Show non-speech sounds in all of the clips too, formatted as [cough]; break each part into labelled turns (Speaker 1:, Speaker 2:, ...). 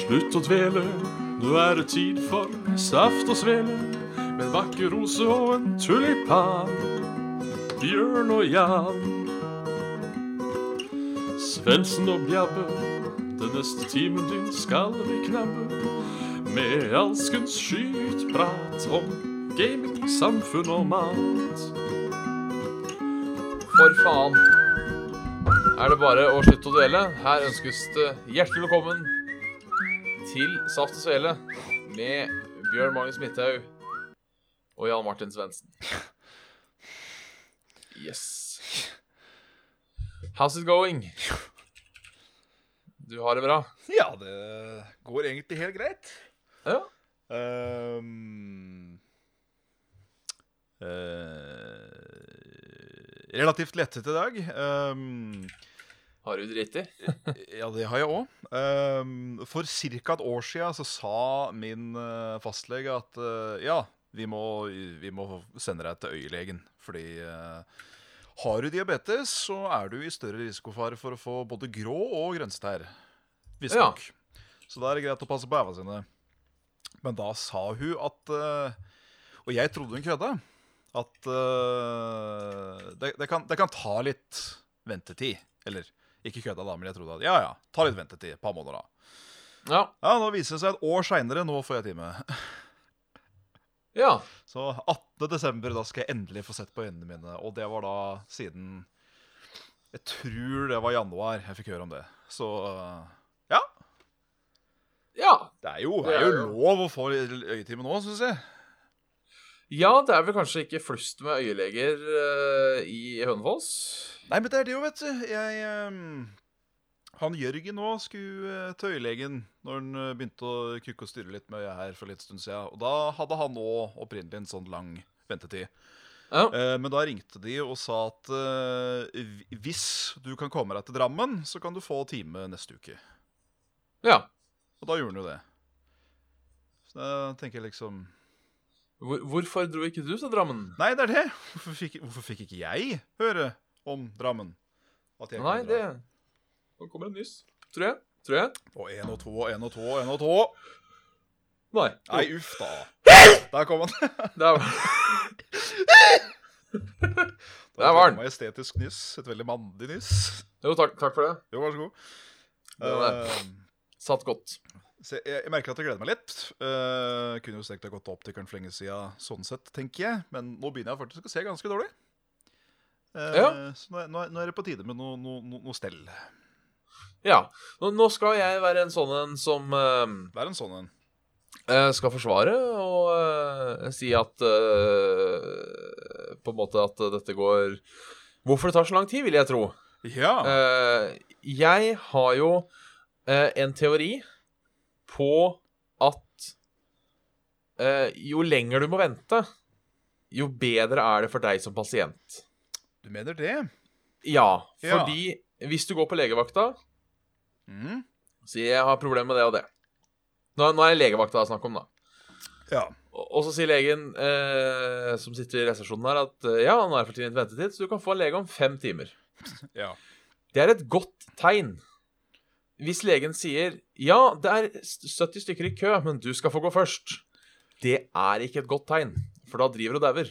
Speaker 1: Slutt å dvele, nå er det tid for saft og svele. Med en vakker rose og en tulipan. Bjørn og Jan. Svendsen og Bjabbe, den neste timen din skal vi knabbe. Med alskens skytprat om gaming, samfunn og mat.
Speaker 2: For faen. Er det bare å slutte å dvele? Her ønskes det hjertelig velkommen til Saft og Svele med Bjørn Magnus Midthaug og Jan Martin Svendsen. Yes. How's it going? Du har det bra?
Speaker 3: Ja, det går egentlig helt greit.
Speaker 2: Ja.
Speaker 3: Ehm, eh, relativt lettet i dag. Ehm,
Speaker 2: Har du driti?
Speaker 3: ja, det har jeg òg. Ehm, for ca. et år siden så sa min eh, fastlege at eh, ja, vi må, vi må sende deg til øyelegen. Fordi eh, har du diabetes, så er du i større risikofare for å få både grå og grønnstær.
Speaker 2: Ja.
Speaker 3: Visstnok. Så da er det greit å passe på æva sine. Men da sa hun at eh, Og jeg trodde hun kødda. At eh, det, det, kan, det kan ta litt ventetid. Eller ikke kødda, da, men jeg trodde at ja, ja, ta litt ventetid. Et par måneder, da.
Speaker 2: Ja.
Speaker 3: Ja, nå viser det seg et år seinere. Nå får jeg time. [laughs]
Speaker 2: ja.
Speaker 3: Så 18. desember, da skal jeg endelig få sett på øynene mine. Og det var da siden Jeg tror det var januar jeg fikk høre om det. Så eh, ja.
Speaker 2: Ja.
Speaker 3: Det er jo,
Speaker 2: Det
Speaker 3: det
Speaker 2: er
Speaker 3: er jo
Speaker 2: jo-
Speaker 3: lov å få øyetime nå, syns jeg.
Speaker 2: Ja, det er vel kanskje ikke flust med øyeleger eh, i Hønefoss?
Speaker 3: Nei, men det er det jo, vet du. Jeg ehm, Han Jørgen nå skulle eh, til øyelegen når han eh, begynte å kukke og styre litt med øyet her for litt stund siden. Og da hadde han òg opprinnelig en sånn lang ventetid.
Speaker 2: Ja.
Speaker 3: Eh, Men da ringte de og sa at eh, hvi- hvis du kan komme deg til Drammen, så kan du få time neste uke.
Speaker 2: ja.
Speaker 3: Og da gjorde han jo det. Så da tenker jeg liksom
Speaker 2: Hvor, hvorfor dro ikke du til Drammen?
Speaker 3: Nei, det er det! Hvorfor fikk, hvorfor fikk ikke jeg høre om Drammen? At jeg kunne
Speaker 2: Nei,
Speaker 3: dra?
Speaker 2: det Nå kommer det en nyss. Tror jeg. Tror jeg.
Speaker 3: Og én og to og én og to og én og to.
Speaker 2: Nei.
Speaker 3: Nei,
Speaker 2: [laughs]
Speaker 3: uff da. Der kom han.
Speaker 2: Det er... Der var den.
Speaker 3: Majestetisk nyss. Et veldig mandig nyss.
Speaker 2: Jo, takk, takk for det.
Speaker 3: Jo, vær så god.
Speaker 2: Det var det.
Speaker 3: Eh,
Speaker 2: Satt godt.
Speaker 3: så jeg, jeg merker at jeg gleder meg litt. Eh, kunne jo stekt ha gått til optikeren for lenge siden, sånn sett, tenker jeg. Men nå begynner jeg faktisk å se ganske dårlig. Eh,
Speaker 2: Ja.
Speaker 3: Så nå, er- nå er- nå er det på tide med noe, noe, noe, noe stell.
Speaker 2: Ja. Nå, nå skal jeg være en sånn en som eh,
Speaker 3: Vær en sånn en.
Speaker 2: eh, skal forsvare og eh, si at eh, På en måte at dette går Hvorfor det tar så lang tid, vil jeg tro.
Speaker 3: Ja.
Speaker 2: Eh, jeg har jo eh, en teori på at eh, jo lenger du må vente, jo bedre er det for deg som pasient.
Speaker 3: Du mener det?
Speaker 2: Ja,
Speaker 3: Ja.
Speaker 2: fordi hvis du går på legevakta
Speaker 3: Mm.
Speaker 2: Sier jeg har problemer med det og det. Nå, nå er det legevakta det er snakk om, da.
Speaker 3: Ja.
Speaker 2: Og, og så sier legen eh, som sitter i resepsjonen her, at eh, ja, nå er det for tiden ventetid, så du kan få en lege om fem timer.
Speaker 3: Ja.
Speaker 2: Det er et godt tegn. Hvis legen sier 'ja, det er s- 70 stykker i kø, men du skal få gå først', det er ikke et godt tegn, for da driver og dauer.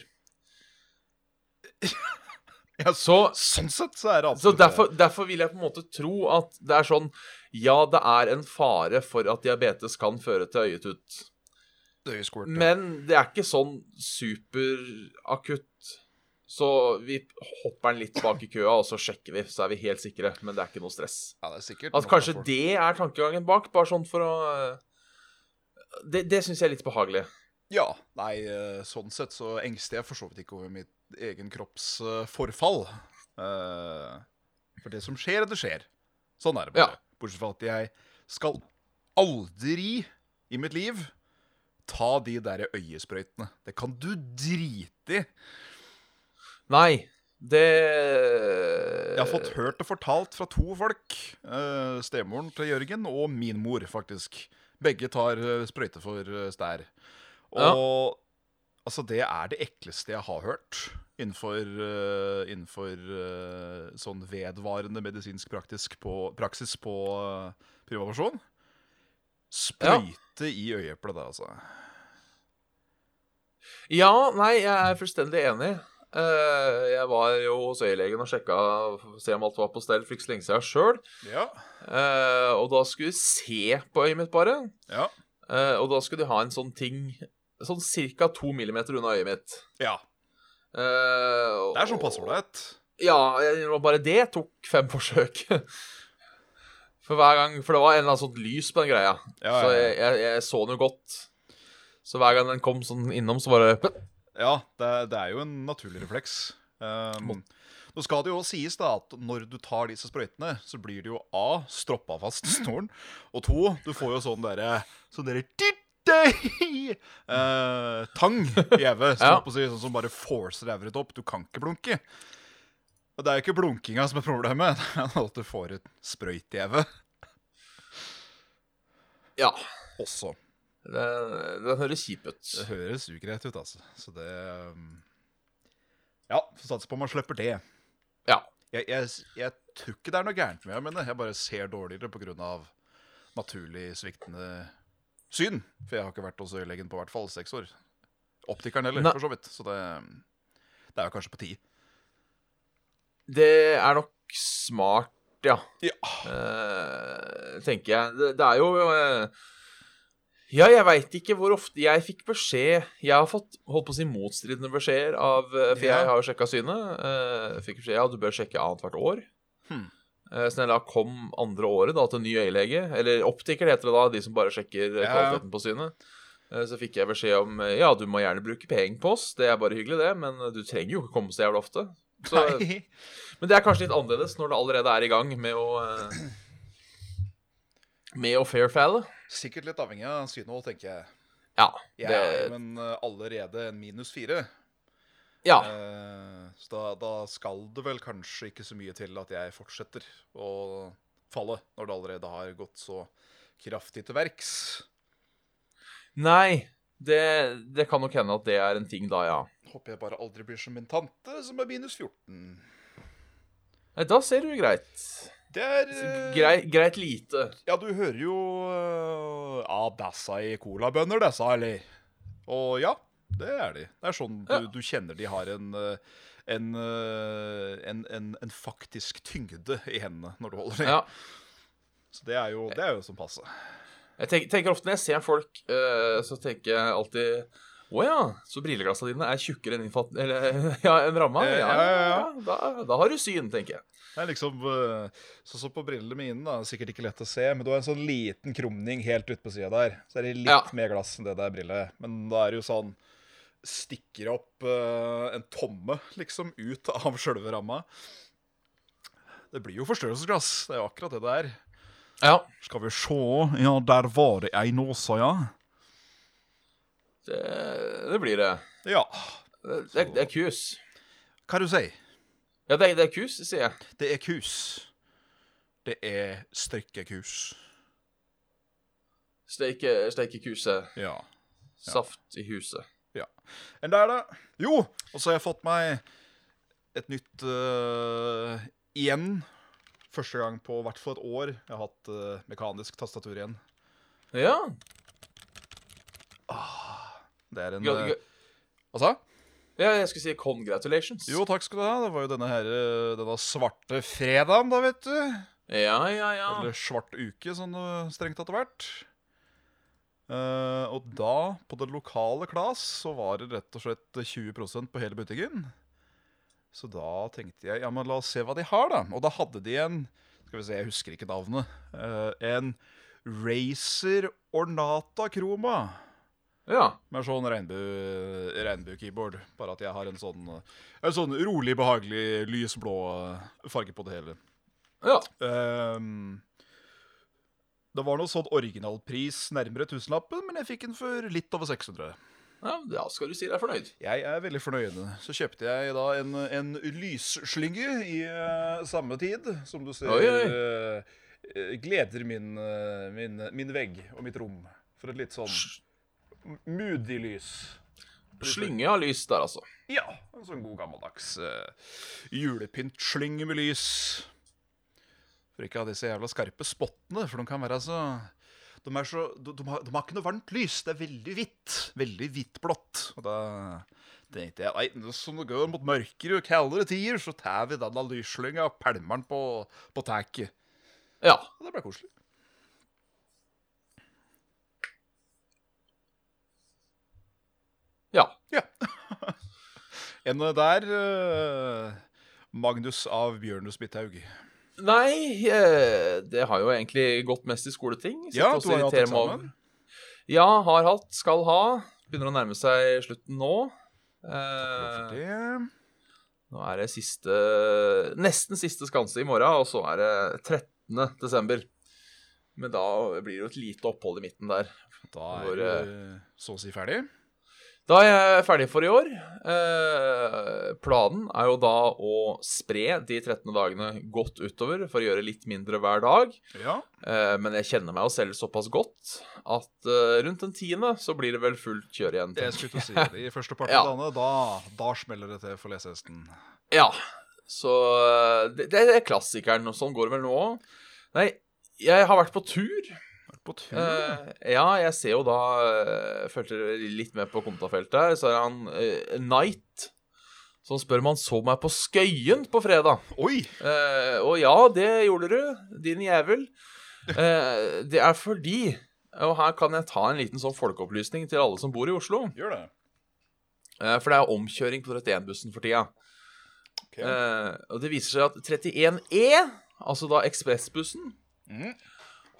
Speaker 3: Ja,
Speaker 2: Så,
Speaker 3: Sånn sett så er det
Speaker 2: så
Speaker 3: absolutt det.
Speaker 2: derfor, derfor vil jeg på en måte tro at det er sånn Ja, det er en fare for at diabetes kan føre til øyetut.
Speaker 3: Døyeskort, ja.
Speaker 2: Men det er ikke sånn superakutt. Så vi hopper den litt bak i køa, og så sjekker vi, så er vi helt sikre. Men det er ikke noe stress.
Speaker 3: Ja, det er sikkert
Speaker 2: At
Speaker 3: nok
Speaker 2: Altså, kanskje
Speaker 3: folk.
Speaker 2: det er tankegangen bak, bare sånn for å eh, Det, det syns jeg er litt behagelig.
Speaker 3: Ja, nei, eh, sånn sett så engster jeg for så vidt ikke over mitt egen kropps eh, forfall. Eh, For det som skjer, det skjer. Sånn er det bare.
Speaker 2: Ja.
Speaker 3: Bortsett fra at jeg skal aldri i mitt liv ta de der øyesprøytene. Det kan du drite i.
Speaker 2: Nei, det
Speaker 3: Jeg har fått hørt og fortalt fra to folk. eh, Stemoren til Jørgen og min mor, faktisk. Begge tar eh, sprøyte for eh, stær. Og altså, det er det ekleste jeg har hørt innenfor, eh, innenfor eh, sånn vedvarende medisinsk praktisk på, praksis på eh, privatperson. Sprøyte i øyeeplet der, altså.
Speaker 2: Ja, nei, jeg er fullstendig enig. Eh, jeg var jo hos øyelegen og sjekka for å se om alt var på stell for ikke så lenge siden sjøl.
Speaker 3: Ja.
Speaker 2: og da skulle jeg se på øyet mitt, bare.
Speaker 3: Ja.
Speaker 2: Eh, og da skulle de ha en sånn ting sånn ca. to millimeter unna øyet mitt.
Speaker 3: ja.
Speaker 2: Eh,
Speaker 3: Det er sånn
Speaker 2: og-
Speaker 3: passe ålreit.
Speaker 2: Ja, jeg- og bare det tok fem forsøk. [laughs] For hver gang, for det var en eller annen sånt lys på den greia.
Speaker 3: Ja, ja,
Speaker 2: Så
Speaker 3: ja.
Speaker 2: jeg, jeg, jeg så den jo godt. Så hver gang den kom sånn innom, så bare
Speaker 3: Ja, det, er- det er jo en naturlig refleks. Um, nå skal det jo også sies da at når du tar disse sprøytene, så blir det jo A. Stroppa fast snoren. Og to, du får jo sånn derre Sånn derre tittei, eh, Tang i øyet, sånn,
Speaker 2: Ja.
Speaker 3: på å si, sånn som bare forcer øyet ditt opp. Du kan ikke blunke. Og det er jo ikke blunkinga som er problemet, [laughs] det er at du får et sprøyt i øyet
Speaker 2: Ja.
Speaker 3: også.
Speaker 2: Den, den høres kjip ut.
Speaker 3: Det høres ugreit ut, altså. Så det um, Ja, får satse på man slipper det.
Speaker 2: Ja.
Speaker 3: Jeg, jeg, jeg tror ikke det er noe gærent med det, men jeg bare ser dårligere pga. naturlig sviktende syn. For jeg har ikke vært hos øyelegen på hvert fall seks år. Optikeren heller,
Speaker 2: Nei.
Speaker 3: for så vidt. Så det, det er jo kanskje på tide.
Speaker 2: Det er nok smart, ja.
Speaker 3: Ja.
Speaker 2: Eh, tenker jeg. Det, det er jo eh, Ja, jeg veit ikke hvor ofte jeg fikk beskjed Jeg har fått holdt på å si motstridende beskjeder av eh, For
Speaker 3: Ja.
Speaker 2: jeg har jo sjekka synet. eh, fikk beskjed ja, du bør sjekke annethvert år.
Speaker 3: Hmm.
Speaker 2: Eh, så når jeg da kom andre året da til ny øyelege, eller optiker heter det da, de som bare sjekker eh,
Speaker 3: Ja, ja.
Speaker 2: kvaliteten på synet, eh, så fikk jeg beskjed om eh, ja, du må gjerne bruke penger på oss, det er bare hyggelig det, men eh, du trenger jo ikke komme så jævlig ofte. Så,
Speaker 3: Nei.
Speaker 2: men det er kanskje litt annerledes når det allerede er i gang med å eh, Med å fairfalle.
Speaker 3: Sikkert litt avhengig av synet òg, tenker jeg.
Speaker 2: Ja.
Speaker 3: Jeg
Speaker 2: det,
Speaker 3: er jo en, eh, allerede en minus fire.
Speaker 2: ja.
Speaker 3: Eh, Så da, da skal det vel kanskje ikke så mye til at jeg fortsetter å falle, når det allerede har gått så kraftig til verks.
Speaker 2: Nei, det, det kan nok hende at det er en ting da, ja.
Speaker 3: Håper jeg bare aldri blir som min tante, som er minus 14.
Speaker 2: Nei, Da ser du greit.
Speaker 3: Det er eh,
Speaker 2: Greit, greit lite.
Speaker 3: Ja, du hører jo eh, Ja, dessa i colabønner, dessa, eller? Og ja, det er de. Det er sånn du,
Speaker 2: Ja.
Speaker 3: du kjenner de har en eh, en, eh, en, en, en faktisk tyngde i hendene når du holder dem.
Speaker 2: Ja.
Speaker 3: Så det er jo, det er jo som passe.
Speaker 2: Jeg tenker, tenker ofte når jeg ser folk, eh, så tenker jeg alltid å ja, så brilleglassene dine er tjukkere enn innfatt... Eller [laughs] ja, enn ramma?
Speaker 3: Eh,
Speaker 2: Ja,
Speaker 3: ja,
Speaker 2: ja,
Speaker 3: ja,
Speaker 2: ja,
Speaker 3: ja.
Speaker 2: Da, da har du syn, tenker jeg.
Speaker 3: Det er liksom eh, Sånn som på brillene mine, da. Sikkert ikke lett å se, men du har en sånn liten krumning helt ute på sida der. Så er det litt
Speaker 2: Ja.
Speaker 3: mer glass enn det der brillet. Men da er det jo sånn Stikker opp eh, en tomme, liksom, ut av sjølve ramma. Det blir jo forstørrelsesglass. Det er jo akkurat det det er.
Speaker 2: Ja.
Speaker 3: Skal vi sjå Ja, der var det ei nåsa, ja.
Speaker 2: Det, det blir det.
Speaker 3: Ja.
Speaker 2: Det, det, det er kus.
Speaker 3: Hva er det du sier?
Speaker 2: Ja, det, er- det er kus, sier jeg.
Speaker 3: Det er kus. Det er strikkekus.
Speaker 2: Steike, steike kuset.
Speaker 3: Ja.
Speaker 2: Saft i huset.
Speaker 3: Enn det er det. Jo, og så har jeg fått meg et nytt eh, igjen. Første gang på i hvert fall et år jeg har hatt eh, mekanisk tastatur igjen.
Speaker 2: Ja.
Speaker 3: Det er en
Speaker 2: gra-
Speaker 3: eh,
Speaker 2: gra-
Speaker 3: Hva sa jeg?
Speaker 2: ja, jeg skulle si congratulations.
Speaker 3: Jo, takk skal du ha. Det var jo denne her, eh, denne svarte fredagen, da, vet du.
Speaker 2: Ja, ja, ja.
Speaker 3: Eller svart uke, sånn eh, strengt tatt vært. Eh, og da, på det lokale Klas, så var det rett og slett 20 på hele butikken. Så da tenkte jeg ja, men la oss se hva de har, da. Og da hadde de en Skal vi se, jeg husker ikke navnet. eh, en Racer Ornata Chroma.
Speaker 2: Ja.
Speaker 3: Med sånn regnbue- regnbue-keyboard. Bare at jeg har en sånn, eh, en sånn rolig, behagelig lysblå eh, farge på det hele.
Speaker 2: ja.
Speaker 3: Ehm, det var noe sånn originalpris nærmere tusenlappen, men jeg fikk den for litt over 600.
Speaker 2: ja. Da skal du si deg fornøyd.
Speaker 3: Jeg er veldig fornøyd. Så kjøpte jeg da en, en lysslynge i eh, samme tid, som du ser
Speaker 2: Oi, oi.
Speaker 3: eh, eh, gleder min, eh, min, min vegg og mitt rom. For et litt sånn moody lys.
Speaker 2: Slynge av lys der, altså.
Speaker 3: Ja, en sånn god gammeldags eh, julepyntslyng med lys. For ikke å ha disse jævla skarpe spottene, for de kan være så de, er så, de, de, har, de har ikke noe varmt lys. Det er veldig hvitt. Veldig hvitt-blått. Og da tenkte jeg nei, nå som det går mot mørkere og kaldere tider, så tar vi denne lyslynga og pælmer den på, på taket.
Speaker 2: Ja.
Speaker 3: Og det ble koselig.
Speaker 2: Ja.
Speaker 3: Ja. [laughs] en der eh, Magnus av Bjørnus Midthaug.
Speaker 2: Nei, eh, det har jo egentlig gått mest i skoleting. Sitter
Speaker 3: Ja,
Speaker 2: og
Speaker 3: du har hatt
Speaker 2: irriterer meg over-
Speaker 3: eksamen.
Speaker 2: Ja, har hatt, skal ha. Begynner å nærme seg slutten nå.
Speaker 3: Hvorfor
Speaker 2: Eh,
Speaker 3: det?
Speaker 2: nå er det siste Nesten siste skanse i morgen, og så er det 13. desember. Men da blir det jo et lite opphold i midten der.
Speaker 3: Da
Speaker 2: Hvor,
Speaker 3: er du så å si ferdig.
Speaker 2: Da er jeg ferdig for i år. Eh, planen er jo da å spre de 13 dagene godt utover for å gjøre litt mindre hver dag.
Speaker 3: Ja.
Speaker 2: Eh, men jeg kjenner meg jo selv såpass godt at eh, rundt den tiende så blir det vel fullt kjør igjen.
Speaker 3: Jeg skulle til å si det. I første
Speaker 2: [laughs]
Speaker 3: part
Speaker 2: Ja.
Speaker 3: av dagene, da, da smeller det til for lesehesten.
Speaker 2: Ja, så eh, det, det er klassikeren, og sånn går det vel nå òg. Nei, jeg har vært på tur.
Speaker 3: Vært på tur.
Speaker 2: Eh, ja, jeg ser jo da eh, Følte litt med på kommentafeltet her, så er det han eh, Knight som spør om han så meg på Skøyen på fredag.
Speaker 3: Oi!
Speaker 2: Eh, og ja, det gjorde du, din jævel. Eh, det er fordi Og her kan jeg ta en liten sånn folkeopplysning til alle som bor i Oslo.
Speaker 3: Gjør det.
Speaker 2: Eh, for det er omkjøring på 31-bussen for tida.
Speaker 3: Ok.
Speaker 2: Eh, og det viser seg at 31E, altså da ekspressbussen,
Speaker 3: Mm.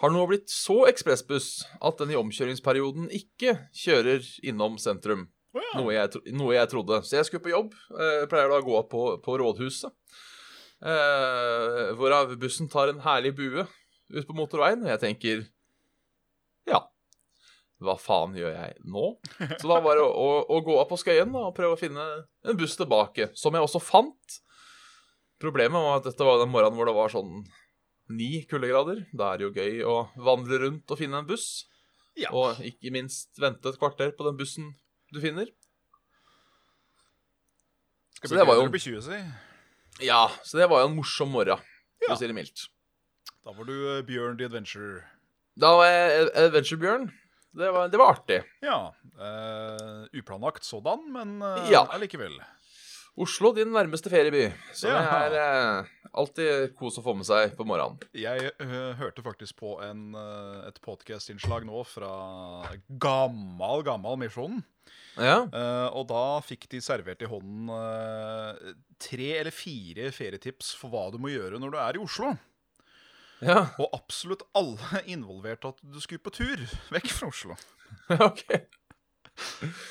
Speaker 2: har nå blitt så ekspressbuss at den i omkjøringsperioden ikke kjører innom sentrum.
Speaker 3: Å ja.
Speaker 2: Noe jeg, tro- noe jeg trodde. Så jeg skulle på jobb. Eh, pleier da å gå opp på, på Rådhuset. Eh, hvorav bussen tar en herlig bue ut på motorveien, og jeg tenker Ja, hva faen gjør jeg nå? Så da var det å, å, å gå av på Skøyen da, og prøve å finne en buss tilbake, som jeg også fant. Problemet var at dette var den morgenen hvor det var sånn ni kuldegrader. Da er det jo gøy å vandre rundt og finne en buss.
Speaker 3: Ja.
Speaker 2: Og ikke minst vente et kvarter på den bussen du finner.
Speaker 3: Skal
Speaker 2: så
Speaker 3: bli
Speaker 2: det var jo-
Speaker 3: bedre å bli 20, si.
Speaker 2: Ja, så det var jo en morsom morgen, for
Speaker 3: Ja.
Speaker 2: å si det mildt.
Speaker 3: Da var du eh, Bjørn the Adventure.
Speaker 2: Da var jeg Adventure-bjørn. Det, var- det var artig.
Speaker 3: Ja. eh, uplanlagt sådan, men eh,
Speaker 2: Ja.
Speaker 3: allikevel.
Speaker 2: Oslo, din nærmeste ferieby. Så
Speaker 3: Ja.
Speaker 2: det er eh, alltid kos å få med seg på morgenen.
Speaker 3: Jeg eh, hørte faktisk på en, eh, et podkast-innslag nå fra gammal, gammal Misjonen.
Speaker 2: Ja,
Speaker 3: Eh, og da fikk de servert i hånden eh, tre eller fire ferietips for hva du må gjøre når du er i Oslo.
Speaker 2: ja, [laughs]
Speaker 3: Og absolutt alle [laughs] involverte at du skulle på tur vekk fra Oslo.
Speaker 2: ok.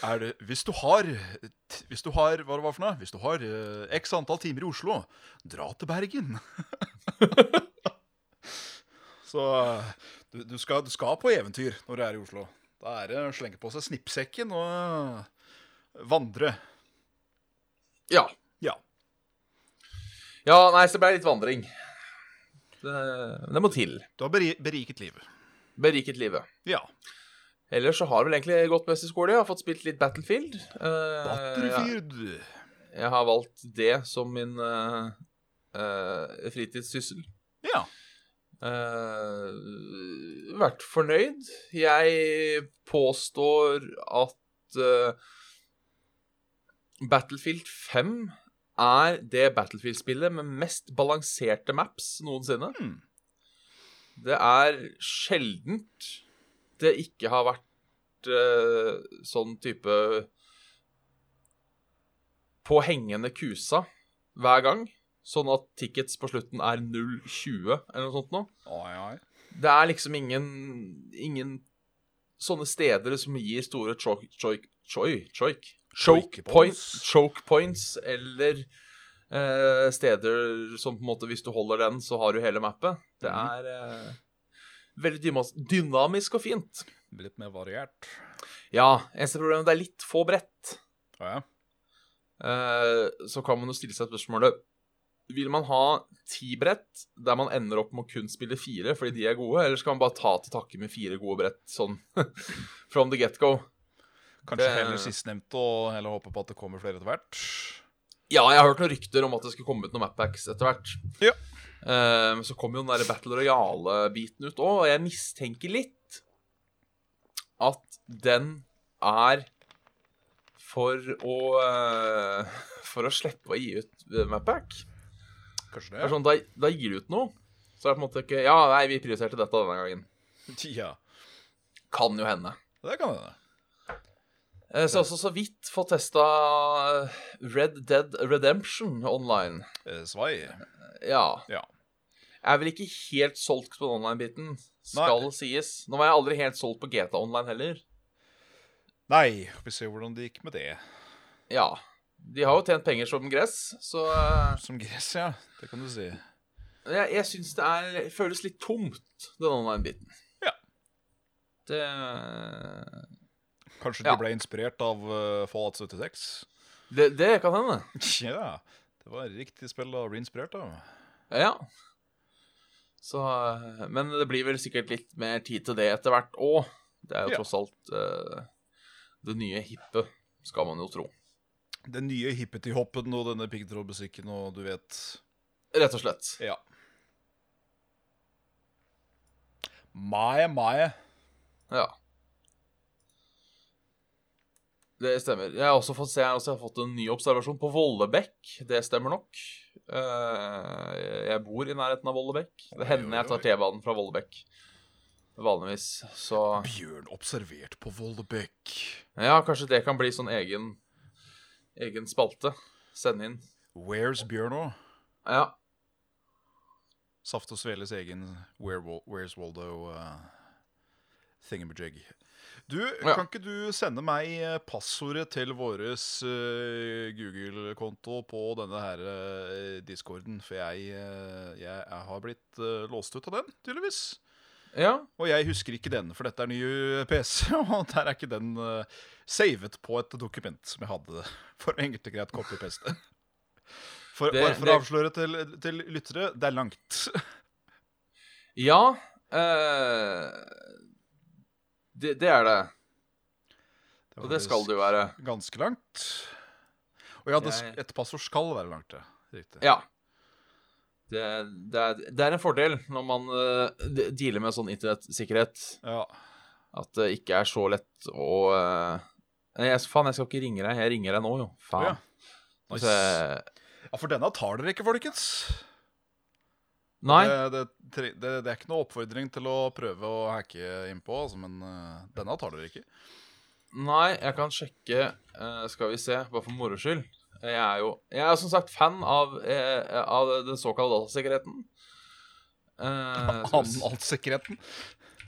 Speaker 3: Er det, hvis du har t- Hvis du har Hva det var for noe? Hvis du har eh, x antall timer i Oslo, dra til Bergen. [laughs] Så eh, du, du, skal, du skal på eventyr når du er i Oslo. Da er det å slenge på seg snippsekken og eh, vandre.
Speaker 2: Ja.
Speaker 3: Ja.
Speaker 2: ja, nei, så det ble litt vandring. Det, det må til.
Speaker 3: Du har beri- beriket livet.
Speaker 2: Beriket livet.
Speaker 3: Ja.
Speaker 2: Ellers så har det vel egentlig gått best i skole. Jeg har fått spilt litt Battlefield. Eh, ja.
Speaker 3: Battlefield.
Speaker 2: Jeg har valgt det som min eh, eh, fritidssyssel.
Speaker 3: Ja.
Speaker 2: Eh, vært fornøyd. Jeg påstår at eh, Battlefield 5 er det Battlefield-spillet med mest balanserte maps noensinne.
Speaker 3: Hmm.
Speaker 2: Det er sjeldent det ikke har vært eh, sånn type på hengende kusa hver gang. Sånn at tickets på slutten er 0,20 eller noe sånt noe.
Speaker 3: Ai, ai.
Speaker 2: Det er liksom ingen, ingen sånne steder som gir store choke, choke, choke, choke, choke,
Speaker 3: Choke
Speaker 2: points.
Speaker 3: points.
Speaker 2: choke points, eller eh, steder som på en måte, hvis du holder den, så har du hele mappet. Det
Speaker 3: Mhm.
Speaker 2: er eh, veldig dymas- dynamisk og fint.
Speaker 3: Litt mer variert.
Speaker 2: Ja, eneste problemet er at det er litt få brett.
Speaker 3: Ja, ja.
Speaker 2: Eh, så kan man jo stille seg spørsmålet Vil man ha ti brett der man ender opp med å kun spille fire fordi de er gode, eller skal man bare ta til takke med fire gode brett sånn [laughs] from the get-go?
Speaker 3: Kanskje
Speaker 2: Det-
Speaker 3: heller sistnevnte, og heller håpe på at det kommer flere etter hvert.
Speaker 2: Ja, jeg har hørt noen rykter om at det skulle komme ut noen mappacks etter hvert.
Speaker 3: Ja.
Speaker 2: Eh, men så kom jo den der Battle Royale-biten ut òg, og jeg mistenker litt at den er for å eh, For å slippe å gi ut Mappack.
Speaker 3: Kanskje
Speaker 2: Det er
Speaker 3: det?
Speaker 2: Sånn, da, da gir du ut noe, så er det på en måte ikke Ja, nei, vi prioriterte dette denne gangen.
Speaker 3: [laughs] Ja.
Speaker 2: Kan jo hende.
Speaker 3: Det kan hende.
Speaker 2: Eh, Så jeg har også så vidt fått testa eh, Red Dead Redemption online.
Speaker 3: Eh, Svai.
Speaker 2: Ja.
Speaker 3: Ja.
Speaker 2: Jeg er vel ikke helt solgt på den online-biten, skal sies. Nå var jeg aldri helt solgt på GTA Online heller.
Speaker 3: Nei, vi ser hvordan det gikk med det.
Speaker 2: Ja. De har jo tjent penger som gress, så eh,
Speaker 3: Som gress, ja. Det kan du si.
Speaker 2: jeg, jeg syns det er, føles litt tomt, den online-biten.
Speaker 3: Ja.
Speaker 2: Det
Speaker 3: Kanskje
Speaker 2: Ja.
Speaker 3: du ble inspirert av eh, Fallout 76?
Speaker 2: Det, det kan hende.
Speaker 3: [laughs] Ja. Det var riktig spill å bli inspirert av.
Speaker 2: Ja. Så eh, Men det blir vel sikkert litt mer tid til det etter hvert òg. Det er jo
Speaker 3: Ja.
Speaker 2: tross alt eh, det nye hippe, skal man jo tro.
Speaker 3: Den nye hippetihoppen og denne piggtrådmusikken og du vet
Speaker 2: Rett og slett.
Speaker 3: Ja. Mai, mai.
Speaker 2: Ja. Det stemmer. Jeg har også fått se jeg har også fått en ny observasjon på Vollebekk. Det stemmer nok. Eh, jeg bor i nærheten av Vollebekk.
Speaker 3: Oi,
Speaker 2: Det hender
Speaker 3: oi,
Speaker 2: jeg tar
Speaker 3: oi.
Speaker 2: T-banen fra Vollebekk. Vanligvis. Så
Speaker 3: Bjørn observert på Voldebekk.
Speaker 2: ja, kanskje det kan bli sånn egen, egen spalte. Sende inn.
Speaker 3: Where's Bjørn òg?
Speaker 2: Ja.
Speaker 3: Saft og Sveles egen Where Wol- Where's Waldo uh, thingamajig. Du,
Speaker 2: Ja.
Speaker 3: kan ikke du sende meg eh, passordet til våres eh, Google-konto på denne her eh, discorden? For jeg, eh, jeg, jeg har blitt eh, låst ut av den, tydeligvis.
Speaker 2: ja.
Speaker 3: Og jeg husker ikke den, for dette er ny eh, PC, [laughs] og der er ikke den eh, savet på et dokument som jeg hadde for enkelt og greit copy-paste. For,
Speaker 2: Det-
Speaker 3: bare for å
Speaker 2: det-
Speaker 3: avsløre til, til lyttere, det er langt.
Speaker 2: Ja eh, det, det er det.
Speaker 3: Det
Speaker 2: Og
Speaker 3: var
Speaker 2: det skal det jo være.
Speaker 3: Ganske langt. Og ja, det,
Speaker 2: Jeg-
Speaker 3: et passord skal være langt, ja. Riktig.
Speaker 2: Ja. Det, det, er, det er en fordel når man eh, de- dealer med sånn internettsikkerhet,
Speaker 3: Ja.
Speaker 2: at det ikke er så lett å eh, Nei, jeg, faen, jeg skal ikke ringe deg. Jeg ringer deg nå, jo.
Speaker 3: Å, ja.
Speaker 2: Faen.
Speaker 3: Nice.
Speaker 2: Så-
Speaker 3: ja, for denne tar dere ikke, folkens.
Speaker 2: nei,
Speaker 3: Det, det, tre- det, det er ikke noe oppfordring til å prøve å hacke innpå, altså, men eh, denne tar dere ikke.
Speaker 2: nei, jeg kan sjekke eh, Skal vi se, bare for moro skyld. Jeg er jo Jeg er som sagt fan av, eh, av den såkalte datasikkerheten. Eh, skal vi se-
Speaker 3: Analsekretten.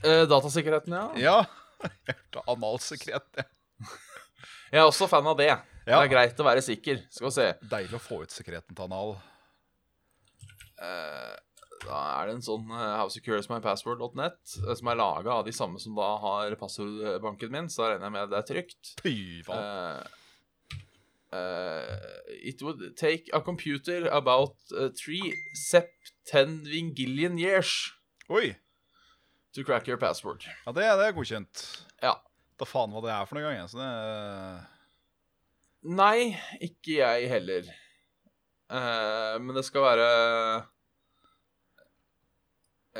Speaker 2: Eh, datasikkerheten, ja.
Speaker 3: Ja. [laughs] Jeg hørte analsekret. ja.
Speaker 2: Jeg er også fan av det.
Speaker 3: Ja.
Speaker 2: Det er greit å være sikker. Skal vi se.
Speaker 3: Deilig å få ut sekreten til anal.
Speaker 2: Eh, da er det en sånn eh, howsecuresmypassword.net eh, som er laga av de samme som da har passordbanken min, så da regner jeg med det er trygt.
Speaker 3: Fy faen.
Speaker 2: Eh, eh, it would take a computer about eh, three septenvingillion years
Speaker 3: Oi.
Speaker 2: to crack your password.
Speaker 3: Ja, det, det er godkjent.
Speaker 2: Ja.
Speaker 3: Da faen hva det er for noen gang, jeg. Så det er-
Speaker 2: Nei, ikke jeg heller. Eh, men det skal være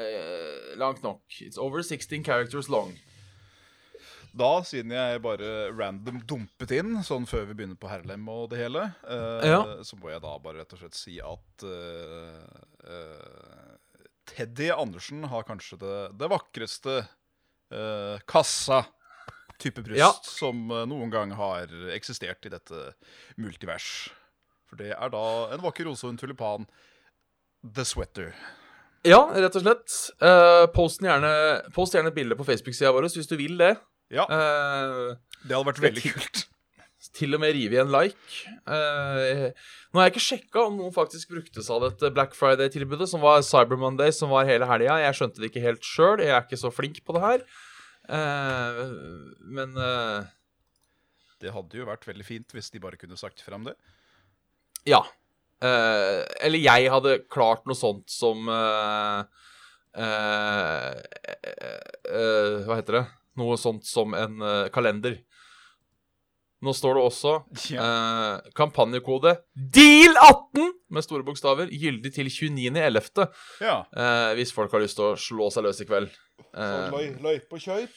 Speaker 2: eh, langt nok. It's over 16 characters long.
Speaker 3: Da, siden jeg bare random dumpet inn, sånn før vi begynner på Herlem og det hele, eh,
Speaker 2: Ja.
Speaker 3: så må jeg da bare rett og slett si at eh, eh, Teddy Andersen har kanskje det, det vakreste eh, kassa type bryst
Speaker 2: Ja.
Speaker 3: som eh, noen gang har eksistert i dette multivers. For det er da en vakker rose og en tulipan. The Sweater.
Speaker 2: Ja, rett og slett. Eh, post gjerne, post gjerne et bilde på Facebook-sida vår hvis du vil det.
Speaker 3: Ja,
Speaker 2: Eh,
Speaker 3: det hadde vært veldig kult.
Speaker 2: til og med rive i en like. Eh, nå har jeg ikke sjekka om noen faktisk brukte seg av dette Black Friday-tilbudet, som var Cyber Monday, som var hele helga. Jeg skjønte det ikke helt sjøl. Jeg er ikke så flink på det her. Eh, men eh,
Speaker 3: Det hadde jo vært veldig fint hvis de bare kunne sagt frem det.
Speaker 2: Ja. Eh, eller jeg hadde klart noe sånt som eh, eh, eh, eh, Hva heter det? Noe sånt som en eh, kalender. Nå står det også eh, kampanjekode DEAL18 med store bokstaver, gyldig til 29.11.
Speaker 3: ja. Sånn,
Speaker 2: eh, hvis folk har lyst til å slå seg løs i kveld. Eh,
Speaker 3: løype og kjøp.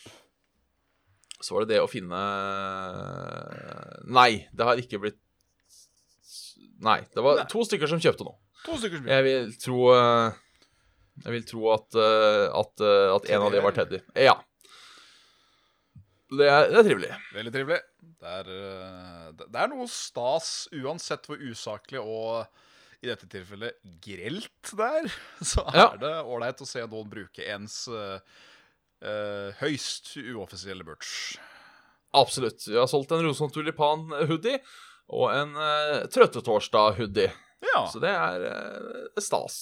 Speaker 2: Så var det det å finne eh, Nei, det har ikke blitt Nei. Det var
Speaker 3: Nei.
Speaker 2: to stykker som kjøpte nå.
Speaker 3: To stykker spill.
Speaker 2: Jeg vil tro eh, Jeg vil tro at eh, At, eh, at en av de var Teddy. Ja. Det er, det er trivelig.
Speaker 3: Veldig trivelig. Det er, eh, det- det er noe stas, uansett hvor usaklig og i dette tilfellet grelt det er, [laughs] så er
Speaker 2: Ja.
Speaker 3: det ålreit å se noen bruke ens eh, eh, høyst uoffisielle merch.
Speaker 2: Absolutt. Vi har solgt en rosenhånd tulipan-hoodie og en uh, trøttetorsdag-hoodie.
Speaker 3: Ja.
Speaker 2: Så det er eh, stas.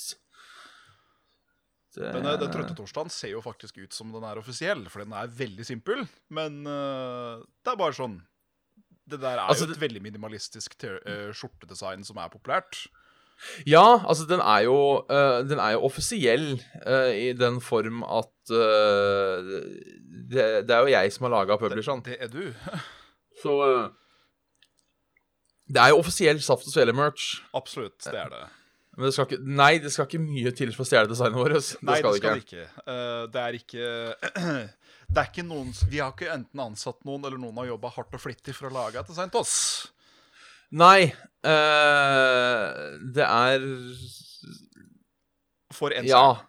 Speaker 2: eh, Det-
Speaker 3: Den, eh, den trøtte torsdagen ser jo faktisk ut som den er offisiell, for den er veldig simpel. Men eh, det er bare sånn Det der er
Speaker 2: Altså,
Speaker 3: jo et veldig minimalistisk te eh, skjortedesign som er populært.
Speaker 2: Ja, altså den er jo, eh, den er jo offisiell eh, i den form at eh, det, det sånn. er jo jeg som har laga publisheren.
Speaker 3: Det er du.
Speaker 2: Så eh, Det er jo offisiell Saft og Svele-merch.
Speaker 3: Absolutt, det er det.
Speaker 2: Men det skal ikke, nei, det skal ikke mye til for å stjele altså. designet vårt. Det
Speaker 3: Nei,
Speaker 2: skal det ikke.
Speaker 3: ikke. Eh, det er ikke [clears throat] Det er ikke noen Vi har ikke enten ansatt noen, eller noen har jobba hardt og flittig for å lage et design til oss.
Speaker 2: Nei, eh, det er
Speaker 3: For en
Speaker 2: Ja.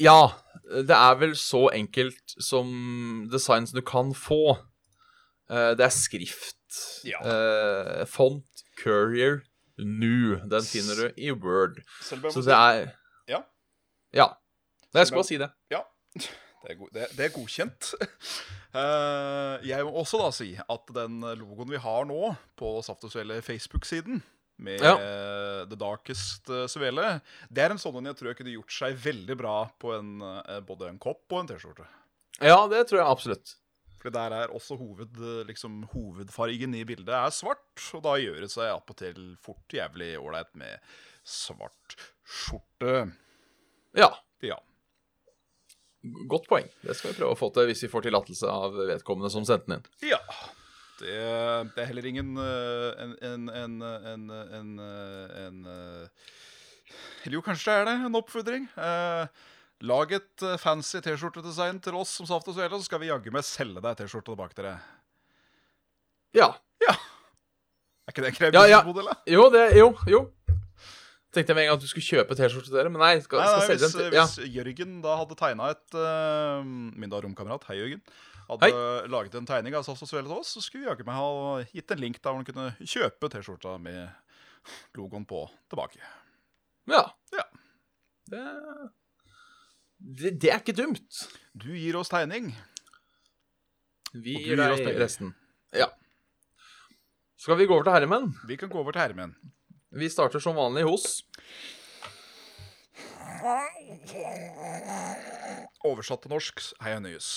Speaker 2: Ja. Det er vel så enkelt som design som du kan få. Eh, det er skrift.
Speaker 3: Ja.
Speaker 2: eh, font, courier, new. Den finner du i Word.
Speaker 3: selv om-
Speaker 2: Så det er
Speaker 3: Ja.
Speaker 2: Ja. Nei, jeg skulle bare si det.
Speaker 3: Ja, [laughs] det er, go det, det er godkjent. [laughs] Eh, jeg må også da si at den logoen vi har nå på Saftosuelle Facebook-siden, med
Speaker 2: Ja.
Speaker 3: eh, The Darkest eh, Svele, det er en sånn en jeg tror jeg kunne gjort seg veldig bra på en, eh, både en kopp og en T-skjorte.
Speaker 2: Ja, det tror jeg absolutt.
Speaker 3: For der er også hoved, eh, liksom, hovedfargen i bildet er svart, og da gjør det seg opp og til fort jævlig ålreit med svart skjorte.
Speaker 2: Ja.
Speaker 3: Ja.
Speaker 2: Godt poeng. Det skal vi prøve å få til hvis vi får tillatelse av vedkommende som sendte den inn.
Speaker 3: Ja. Det, det er heller ingen eh, en, en, en, en, en, eh, en eh, Eller jo, kanskje det er det. En oppfordring. Eh, lag et eh, fancy T-skjortedesign til oss som Saft og Svele, så skal vi jaggu meg selge deg T-skjorte tilbake til dere.
Speaker 2: Ja.
Speaker 3: Er ikke det en krevende
Speaker 2: Ja, ja.
Speaker 3: modell, da?
Speaker 2: Jo, det Jo, jo. Tenkte jeg med en gang at du skulle kjøpe T-skjorte til dere, men nei. Skal,
Speaker 3: Nei,
Speaker 2: skal
Speaker 3: nei,
Speaker 2: selge
Speaker 3: hvis,
Speaker 2: den til, ja.
Speaker 3: hvis Jørgen da hadde tegna et eh, Min da romkamerat, hei Jørgen, hadde laget en tegning av Saft og Svele til oss, så skulle vi jaggu meg ha gitt en link der hvor han kunne kjøpe T-skjorta med logoen på tilbake.
Speaker 2: ja.
Speaker 3: Ja.
Speaker 2: Det, det, det er ikke dumt.
Speaker 3: Du gir oss tegning.
Speaker 2: Vi
Speaker 3: Og du
Speaker 2: gir
Speaker 3: gir oss
Speaker 2: deg
Speaker 3: penger.
Speaker 2: resten. Ja. Skal vi gå over til herremenn?
Speaker 3: Vi kan gå over til Hermen.
Speaker 2: Vi starter som vanlig hos
Speaker 3: Oversatt til norsk Heia Nøyes.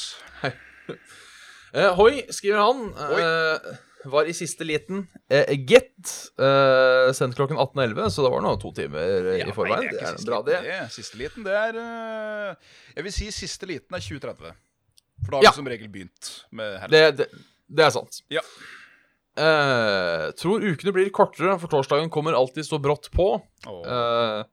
Speaker 2: Eh, hoi, skriver han. Eh, var i siste liten. Eh, gitt. Eh, sendt klokken 18.11, så det var nå to timer eh, i forveien. det er bra, det.
Speaker 3: Siste liten, det er eh, Jeg vil si siste liten er 2030. For da har
Speaker 2: Ja.
Speaker 3: vi som regel begynt med Hermen.
Speaker 2: Det, det, det er sant.
Speaker 3: Ja.
Speaker 2: Eh, tror ukene blir kortere, for torsdagen kommer alltid så brått på.
Speaker 3: Og
Speaker 2: Eh,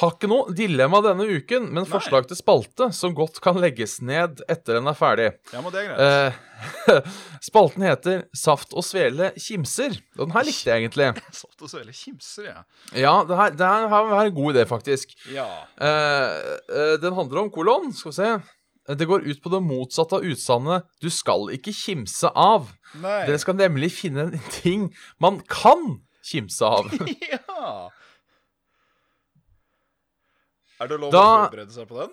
Speaker 2: har ikke noe dilemma denne uken, men forslag til spalte som godt kan legges ned etter den er ferdig.
Speaker 3: ja, men det er greit.
Speaker 2: Eh, [laughs] spalten heter Saft og svele kimser. Og den her likte jeg egentlig.
Speaker 3: Satt og svele kimser, jeg.
Speaker 2: Ja, det her, det her her er en god idé, faktisk.
Speaker 3: Ja.
Speaker 2: Eh, eh, den handler om kolon, skal vi se. Det går ut på det motsatte av utsagnet 'du skal ikke kimse av'.
Speaker 3: Nei.
Speaker 2: Dere skal nemlig finne en ting man kan kimse av.
Speaker 3: [laughs] Ja. Er det lov å
Speaker 2: Da-
Speaker 3: forberede seg på den?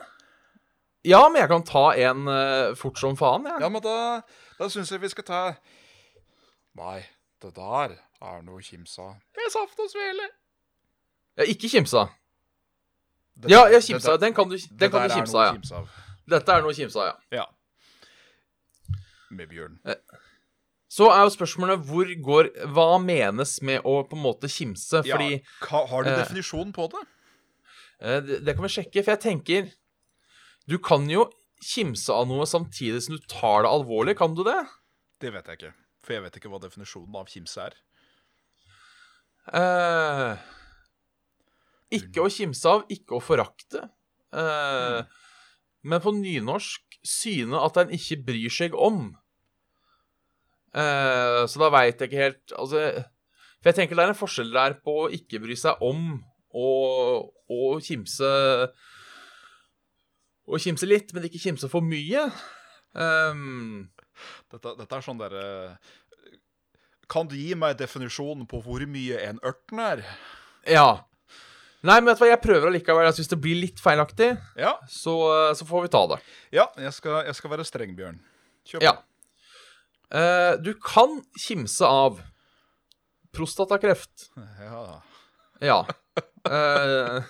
Speaker 2: Ja, men jeg kan ta en eh, fort som faen, jeg.
Speaker 3: Ja, men da, da syns jeg vi skal ta Nei, det der er noe kimsa. Det er saft og svele.
Speaker 2: Ja. Ikke kimsa.
Speaker 3: Det
Speaker 2: Ja,
Speaker 3: der-
Speaker 2: jeg
Speaker 3: det
Speaker 2: kimsa.
Speaker 3: der-
Speaker 2: Den kan du,
Speaker 3: det
Speaker 2: den kan
Speaker 3: der
Speaker 2: du
Speaker 3: er
Speaker 2: kimse
Speaker 3: noe
Speaker 2: av, ja.
Speaker 3: kimse av.
Speaker 2: Dette er noe kimsa, ja.
Speaker 3: Ja. Med bjørn.
Speaker 2: Så er jo spørsmålet hvor går Hva menes med å på en måte kimse? Fordi
Speaker 3: ja, ka- har du
Speaker 2: eh,
Speaker 3: definisjon på det?
Speaker 2: eh, det, det kan vi sjekke, for jeg tenker Du kan jo kimse av noe samtidig som du tar det alvorlig, kan du det?
Speaker 3: Det vet jeg ikke. For jeg vet ikke hva definisjonen av kimse er.
Speaker 2: Eh, ikke å kimse av, ikke å forakte. Eh, Men på nynorsk syne at en ikke bryr seg om. Eh, så da veit jeg ikke helt altså, For jeg tenker det er en forskjell der på å ikke bry seg om og, og kimse Og kimse litt, men ikke kimse for mye. Ehm,
Speaker 3: Dette, dette er sånn derre Kan du gi meg definisjonen på hvor mye en ørten er?
Speaker 2: ja. Nei, men vet du hva, jeg prøver allikevel. Jeg syns det blir litt feilaktig,
Speaker 3: Ja,
Speaker 2: så, eh, så får vi ta det.
Speaker 3: ja jeg, skal, jeg skal være streng, Bjørn. Kjør på.
Speaker 2: Ja. Eh, du kan kimse av prostatakreft.
Speaker 3: Ja.
Speaker 2: Ja. Eh,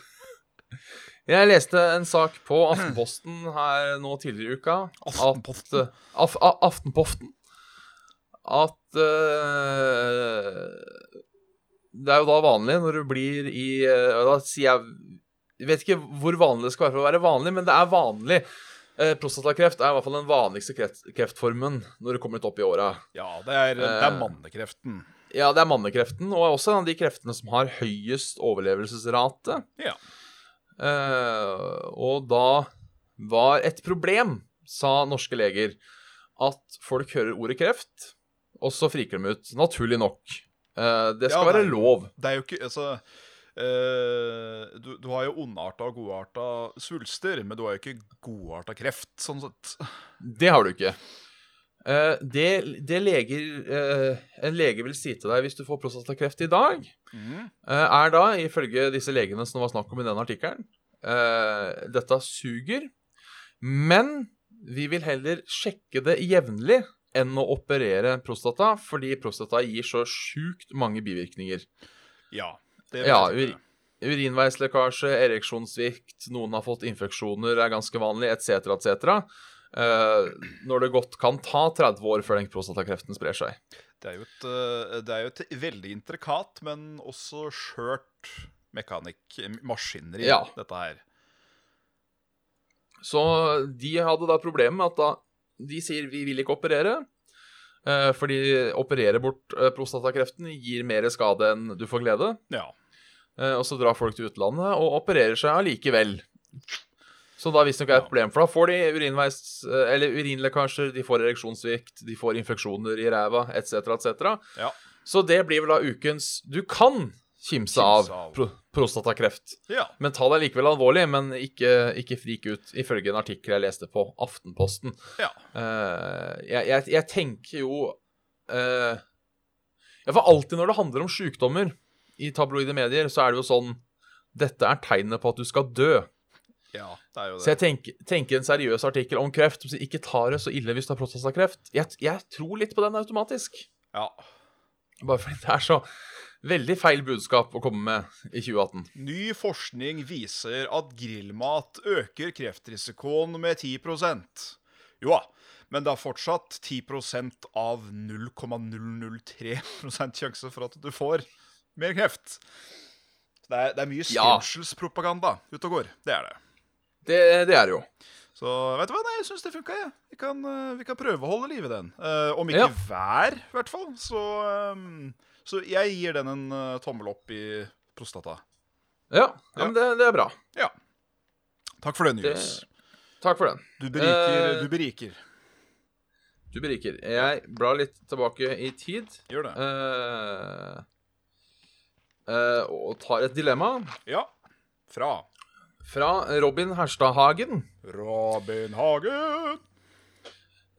Speaker 2: jeg leste en sak på Aftenposten her nå tidligere i uka.
Speaker 3: Aftenposten?
Speaker 2: At, eh, af, a, Aftenposten. At eh, Det er jo da vanlig når du blir i eh, Da sier jeg jeg vet ikke hvor vanlig det skal være for å være vanlig, men det er vanlig. Eh, prostatakreft er i hvert fall den vanligste kreft, kreftformen når du kommer litt opp i åra.
Speaker 3: ja, det er, det er
Speaker 2: Eh.
Speaker 3: mannekreften.
Speaker 2: Ja, det er mannekreften, og er også en av de kreftene som har høyest overlevelsesrate.
Speaker 3: Ja.
Speaker 2: Eh, og da var et problem, sa norske leger, at folk hører ordet kreft, og så friker de ut. Naturlig nok. Eh, det skal
Speaker 3: Ja,
Speaker 2: være
Speaker 3: nei.
Speaker 2: lov.
Speaker 3: Det er jo ikke Altså eh, du, du har jo ondarta og godarta svulster, men du har jo ikke godarta kreft, sånn sett.
Speaker 2: Det har du ikke. Eh, det, det leger, eh, en lege vil si til deg hvis du får prostatakreft i dag,
Speaker 3: Mhm.
Speaker 2: eh, er da, ifølge disse legene som det var snakk om i den artikkelen, eh, dette suger, men vi vil heller sjekke det jevnlig enn å operere prostata, fordi prostata gir så sjukt mange bivirkninger.
Speaker 3: Ja. Det
Speaker 2: Ja,
Speaker 3: vet jeg
Speaker 2: uri- Urinveislekkasje, ereksjonssvikt, noen har fått infeksjoner, er ganske vanlig, etc., etc. Eh, når det godt kan ta 30 år før den prostatakreften sprer seg.
Speaker 3: Det er jo et, eh, det er jo et veldig intrikat, men også skjørt mekanikk, maskineri,
Speaker 2: Ja.
Speaker 3: dette her.
Speaker 2: Så de hadde da problemet med at da de sier vi vil ikke operere, eh, fordi operere bort eh, prostatakreften gir mer skade enn du får glede.
Speaker 3: Ja.
Speaker 2: Eh, og så drar folk til utlandet og opererer seg allikevel. Så da visstnok er det et problem, for da får de urinveis, eh, eller urinlekkasjer, de får ereksjonssvikt, de får infeksjoner i ræva, etc., etc.
Speaker 3: Ja.
Speaker 2: Så det blir vel da ukens Du kan kimse av,
Speaker 3: av.
Speaker 2: Pro prostatakreft.
Speaker 3: ja.
Speaker 2: Men ta det likevel alvorlig, men ikke, ikke frik ut, ifølge en artikkel jeg leste på Aftenposten.
Speaker 3: Ja.
Speaker 2: Eh, jeg, jeg, jeg tenker jo eh, ja, For alltid når det handler om sykdommer i tabloide medier, så er det jo sånn Dette er tegnet på at du skal dø.
Speaker 3: Ja, det er jo
Speaker 2: Så
Speaker 3: det.
Speaker 2: jeg tenker, tenker en seriøs artikkel om kreft som sier 'ikke ta det så ille hvis du har prostatakreft'. Jeg, jeg tror litt på den automatisk.
Speaker 3: Ja.
Speaker 2: Bare fordi det er så veldig feil budskap å komme med i 2018.
Speaker 3: Ny forskning viser at grillmat øker kreftrisikoen med 10 Jo da, men det er fortsatt 10 av 0,003 sjanse for at du får mer kreft. Så Det er, det er mye
Speaker 2: Ja.
Speaker 3: skremselspropaganda ute og går. Det er det.
Speaker 2: Det, det er det jo.
Speaker 3: Så vet du hva, nei, jeg syns det funka, jeg. Vi kan, eh, vi kan prøve å holde liv i den. Eh, om ikke
Speaker 2: Ja.
Speaker 3: hver, i hvert fall. Så, eh, så jeg gir den en eh, tommel opp i prostata.
Speaker 2: Ja, ja.
Speaker 3: Ja.
Speaker 2: men det, det er bra.
Speaker 3: Ja. Takk for den,
Speaker 2: Det-
Speaker 3: Julius.
Speaker 2: Takk for den.
Speaker 3: Du beriker.
Speaker 2: Eh.
Speaker 3: du beriker.
Speaker 2: Du beriker. Jeg blar litt tilbake i tid
Speaker 3: Gjør det.
Speaker 2: eh, eh, og tar et dilemma
Speaker 3: Ja. Fra
Speaker 2: fra Robin Herstadhagen.
Speaker 3: Robin Hagen.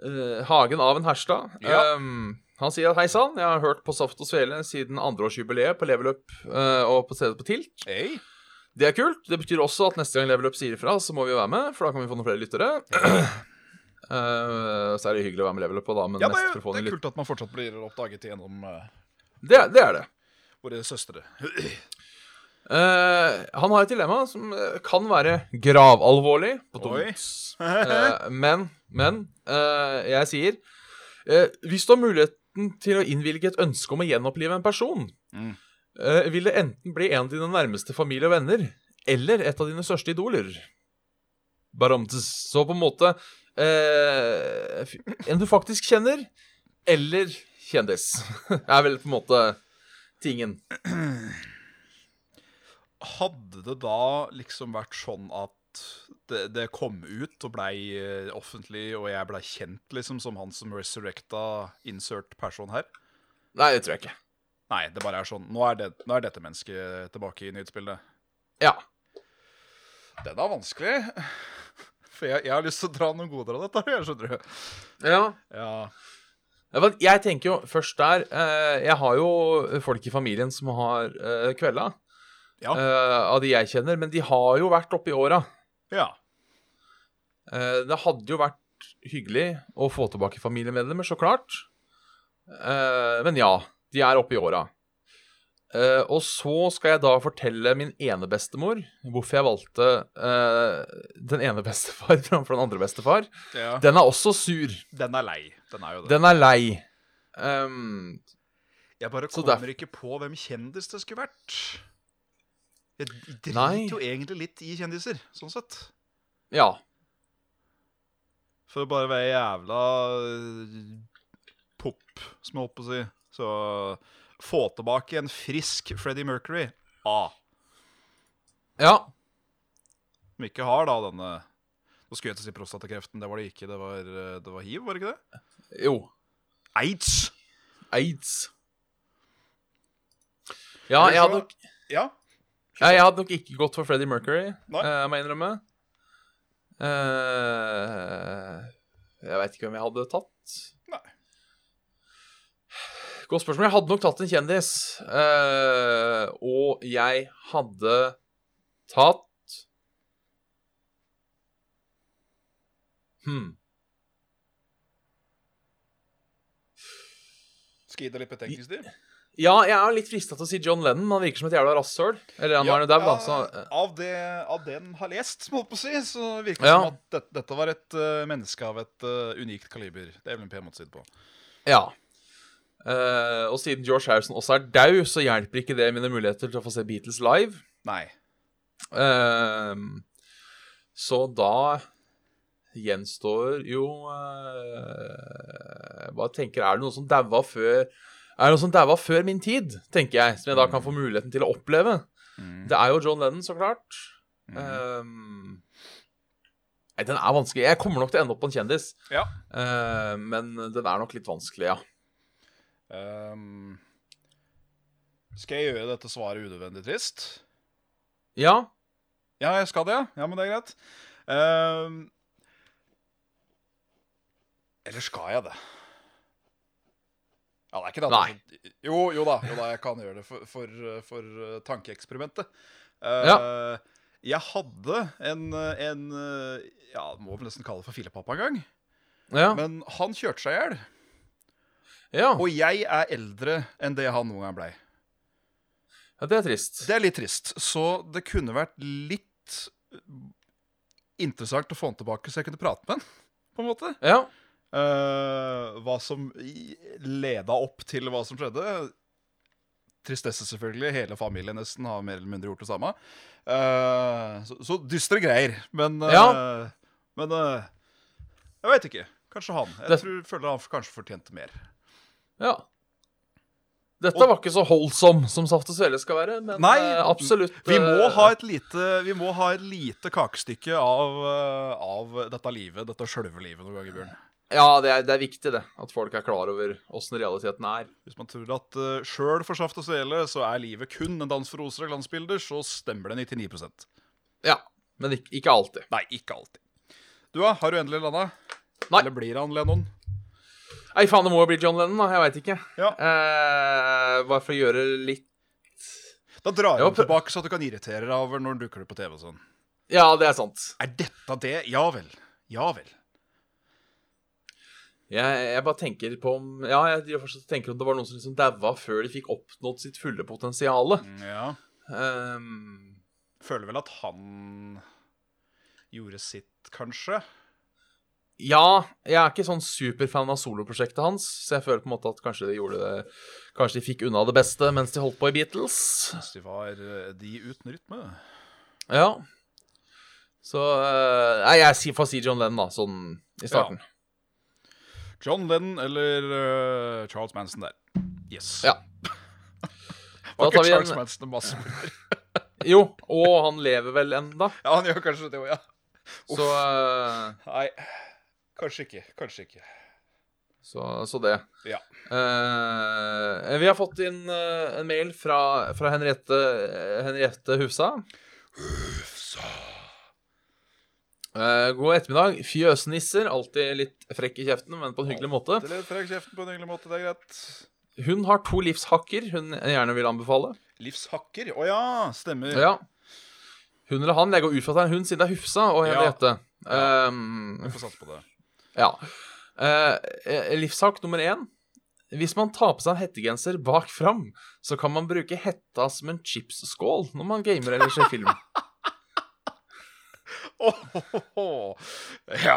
Speaker 2: Eh, Hagen av en Herstad.
Speaker 3: Ja.
Speaker 2: Eh, han sier at hei sann, jeg har hørt på Saft og Svele siden andreårsjubileet på Level Up eh, og på CD på Tilt.
Speaker 3: Hei.
Speaker 2: Det er kult. Det betyr også at neste gang Level Up sier ifra, så må vi jo være med, for da kan vi få noen flere lyttere. [clears throat] Eh, så er det hyggelig å være med i Level Up, og da, men
Speaker 3: Ja, det,
Speaker 2: mest for
Speaker 3: er-
Speaker 2: å få noen
Speaker 3: det er
Speaker 2: lyttere.
Speaker 3: kult at man fortsatt blir oppdaget gjennom eh,
Speaker 2: Det, det er det.
Speaker 3: våre
Speaker 2: [laughs]
Speaker 3: søstre.
Speaker 2: Eh, han har et dilemma som eh, kan være gravalvorlig, på
Speaker 3: Oi.
Speaker 2: tungt. Eh, men men eh, jeg sier eh, Hvis du har muligheten til å innvilge et ønske om å gjenopplive en person,
Speaker 3: Mm.
Speaker 2: eh, vil det enten bli en av dine nærmeste familie og venner eller et av dine største idoler. Baramtes. Så på en måte eh, f- En du faktisk kjenner, eller kjendis. [laughs] er vel på en måte tingen.
Speaker 3: Hadde det da liksom vært sånn at at det, det kom ut og blei eh, offentlig, og jeg blei kjent liksom som han som resurrecta insert person her.
Speaker 2: Nei, det tror jeg ikke.
Speaker 3: Nei, det bare er sånn. Nå er, det, nå er dette mennesket tilbake i nyhetsbildet.
Speaker 2: Ja.
Speaker 3: Den er vanskelig. [laughs] For jeg, jeg har lyst til å dra noen goder av dette. Jeg skjønner du.
Speaker 2: ja.
Speaker 3: Ja,
Speaker 2: Ja, for Jeg tenker jo først der eh, Jeg har jo folk i familien som har eh, kvelda.
Speaker 3: Ja.
Speaker 2: eh, av de jeg kjenner. Men de har jo vært oppi åra.
Speaker 3: ja.
Speaker 2: Eh, det hadde jo vært hyggelig å få tilbake familiemedlemmer, så klart. Eh, men ja, de er oppi åra. Eh, og så skal jeg da fortelle min ene bestemor hvorfor jeg valgte eh, den ene [laughs] bestefar framfor den andre bestefar.
Speaker 3: ja. Den,
Speaker 2: Den er også sur.
Speaker 3: er lei. Den er jo det.
Speaker 2: Den er lei. Um,
Speaker 3: jeg bare
Speaker 2: så
Speaker 3: kommer
Speaker 2: derf-
Speaker 3: ikke på hvem kjendis det skulle vært. Jeg driter
Speaker 2: Nei.
Speaker 3: jo egentlig litt i kjendiser, sånn sett.
Speaker 2: ja.
Speaker 3: For å bare være jævla eh, pop, som jeg holdt på å si. Så få tilbake en frisk Freddie Mercury. Ah.
Speaker 2: Ja.
Speaker 3: Som ikke har da denne Nå skulle jeg til å si prostatakreften, det var det ikke. Det var, eh, det var hiv, var det ikke det?
Speaker 2: Jo.
Speaker 3: Aids!
Speaker 2: Aids. Ja,
Speaker 3: Eller
Speaker 2: jeg hadde
Speaker 3: så-
Speaker 2: nok,
Speaker 3: Ja.
Speaker 2: ja, jeg hadde nok ikke gått for Freddie Mercury,
Speaker 3: Nei.
Speaker 2: eh, må jeg innrømme. Eh, jeg veit ikke hvem jeg hadde tatt.
Speaker 3: Nei.
Speaker 2: Godt spørsmål. Jeg hadde nok tatt en kjendis. Eh, og jeg hadde tatt Hm.
Speaker 3: Skal gi deg litt betenkningstid?
Speaker 2: Ja, jeg er litt frista til å si John Lennon. men Han virker som et jævla rasshøl. Eller han var jo dau, da. Så, eh,
Speaker 3: av, det, av det den har lest, som jeg holdt på å si, så virker det
Speaker 2: Ja.
Speaker 3: som at dette, dette var et eh, menneske av et eh, unikt kaliber. Det er vel en pen måte å si det på.
Speaker 2: ja. Eh, og siden George Harrison også er dau, så hjelper ikke det mine muligheter til å få se Beatles live.
Speaker 3: Nei.
Speaker 2: Eh, så da gjenstår jo eh, Jeg bare tenker, er det noen som daua før Er det noen som daua før min tid, tenker jeg, som jeg da kan få muligheten til å oppleve?
Speaker 3: Mm.
Speaker 2: Det er jo John Lennon, så klart.
Speaker 3: Mhm.
Speaker 2: Ehm, nei, den er vanskelig. Jeg kommer nok til å ende opp på en kjendis.
Speaker 3: Ja.
Speaker 2: Ehm, men den er nok litt vanskelig, ja.
Speaker 3: Ehm, skal jeg gjøre dette svaret unødvendig trist?
Speaker 2: Ja,
Speaker 3: Ja, jeg skal det, ja. Ja, men det er greit. Ehm, eller skal jeg det? Ja, det er ikke det. at det er så- Jo, jo da, jo da, jeg kan gjøre det for, for, eh, for eh, tankeeksperimentet. Eh, Jeg hadde en, eh, en eh, Ja, må vel nesten kalle det for filepappa en gang.
Speaker 2: ja,
Speaker 3: Men han kjørte seg i hjel.
Speaker 2: ja.
Speaker 3: Og jeg er eldre enn det han noen gang blei.
Speaker 2: ja. Det er trist.
Speaker 3: Det er litt trist. Så det kunne vært litt interessant å få han tilbake, så jeg kunne prate med han, på en måte.
Speaker 2: Ja,
Speaker 3: Eh, hva som i- leda opp til hva som skjedde. Tristesse, selvfølgelig. Hele familien nesten har mer eller mindre gjort det samme. Eh, så, så dystre greier. Men eh,
Speaker 2: Ja.
Speaker 3: Men eh, jeg veit ikke. Kanskje han. Jeg
Speaker 2: Det-
Speaker 3: tror, føler han kanskje fortjente mer.
Speaker 2: ja. Dette var ikke så holdsom som Saft og Svele skal være, men
Speaker 3: Nei,
Speaker 2: eh, absolutt.
Speaker 3: Vi må
Speaker 2: eh,
Speaker 3: ha et lite, vi må ha et lite kakestykke av, eh, av dette livet, dette sjølve livet noen ganger, Bjørn.
Speaker 2: Ja, det er, det er viktig, det. At folk er klar over åssen realiteten er.
Speaker 3: Hvis man tror at uh, sjøl for saft og svele så er livet kun en dans for roser og glansbilder, så stemmer det 99
Speaker 2: Ja. Men ikke, ikke alltid.
Speaker 3: Nei, ikke alltid. Du, da? Har du endelig landa?
Speaker 2: Nei.
Speaker 3: Eller blir han Lennon?
Speaker 2: Nei, faen, det må jo bli John Lennon, da. Jeg veit ikke.
Speaker 3: Ja.
Speaker 2: Eh, bare for å gjøre litt
Speaker 3: Da drar
Speaker 2: Ja,
Speaker 3: han
Speaker 2: prøv-
Speaker 3: tilbake, så at du kan irritere deg over når han dukker opp på TV og sånn.
Speaker 2: Ja, det er sant.
Speaker 3: Er dette det? Ja vel. Ja vel.
Speaker 2: Jeg, jeg bare tenker på om Ja, jeg driver fortsatt og tenker om det var noen som liksom daua før de fikk oppnådd sitt fulle potensial.
Speaker 3: Ja.
Speaker 2: Ehm,
Speaker 3: Føler vel at han gjorde sitt, kanskje.
Speaker 2: ja, jeg er ikke sånn superfan av soloprosjektet hans, så jeg føler på en måte at kanskje de gjorde det Kanskje de fikk unna det beste mens de holdt på i Beatles.
Speaker 3: Mens de var eh, de uten rytme.
Speaker 2: Ja. Så eh, Nei, jeg sier- får si John Lennon, da, sånn i starten.
Speaker 3: John Lennon eller eh, Charles Manson der. Yes. [laughs]
Speaker 2: Ja.
Speaker 3: Var
Speaker 2: Da tar
Speaker 3: ikke
Speaker 2: vi
Speaker 3: Charles
Speaker 2: en- [laughs]
Speaker 3: Manson en masse?
Speaker 2: Jo, og han lever vel enda.
Speaker 3: [laughs] Ja, han gjør kanskje det òg, ja.
Speaker 2: Så, eh,
Speaker 3: Nei, kanskje ikke. Kanskje ikke.
Speaker 2: så, så det.
Speaker 3: Ja.
Speaker 2: Eh, vi har fått inn eh, en mail fra, fra Henriette, Henriette Hufsa. Eh, god ettermiddag. Fjøsnisser, alltid litt frekk i kjeften, men på en hyggelig måte.
Speaker 3: Det lever fra kjeften på en hyggelig måte, det er greit.
Speaker 2: Hun har to livshakker hun gjerne vil anbefale.
Speaker 3: Livshakker? Å ja, stemmer.
Speaker 2: Ja. Hun eller han, jeg går ut fra at det er hun, siden det er Hufsa og
Speaker 3: Ja.
Speaker 2: Henriette.
Speaker 3: Ja.
Speaker 2: Ehm,
Speaker 3: Vi får satse på det. [laughs]
Speaker 2: Ja. Eh, eh, livshack nummer én. Hvis man tar på seg en hettegenser bak fram, så kan man bruke hetta som en chipsskål når man gamer eller ser
Speaker 3: [laughs]
Speaker 2: film.
Speaker 3: Åhåhå. Ja.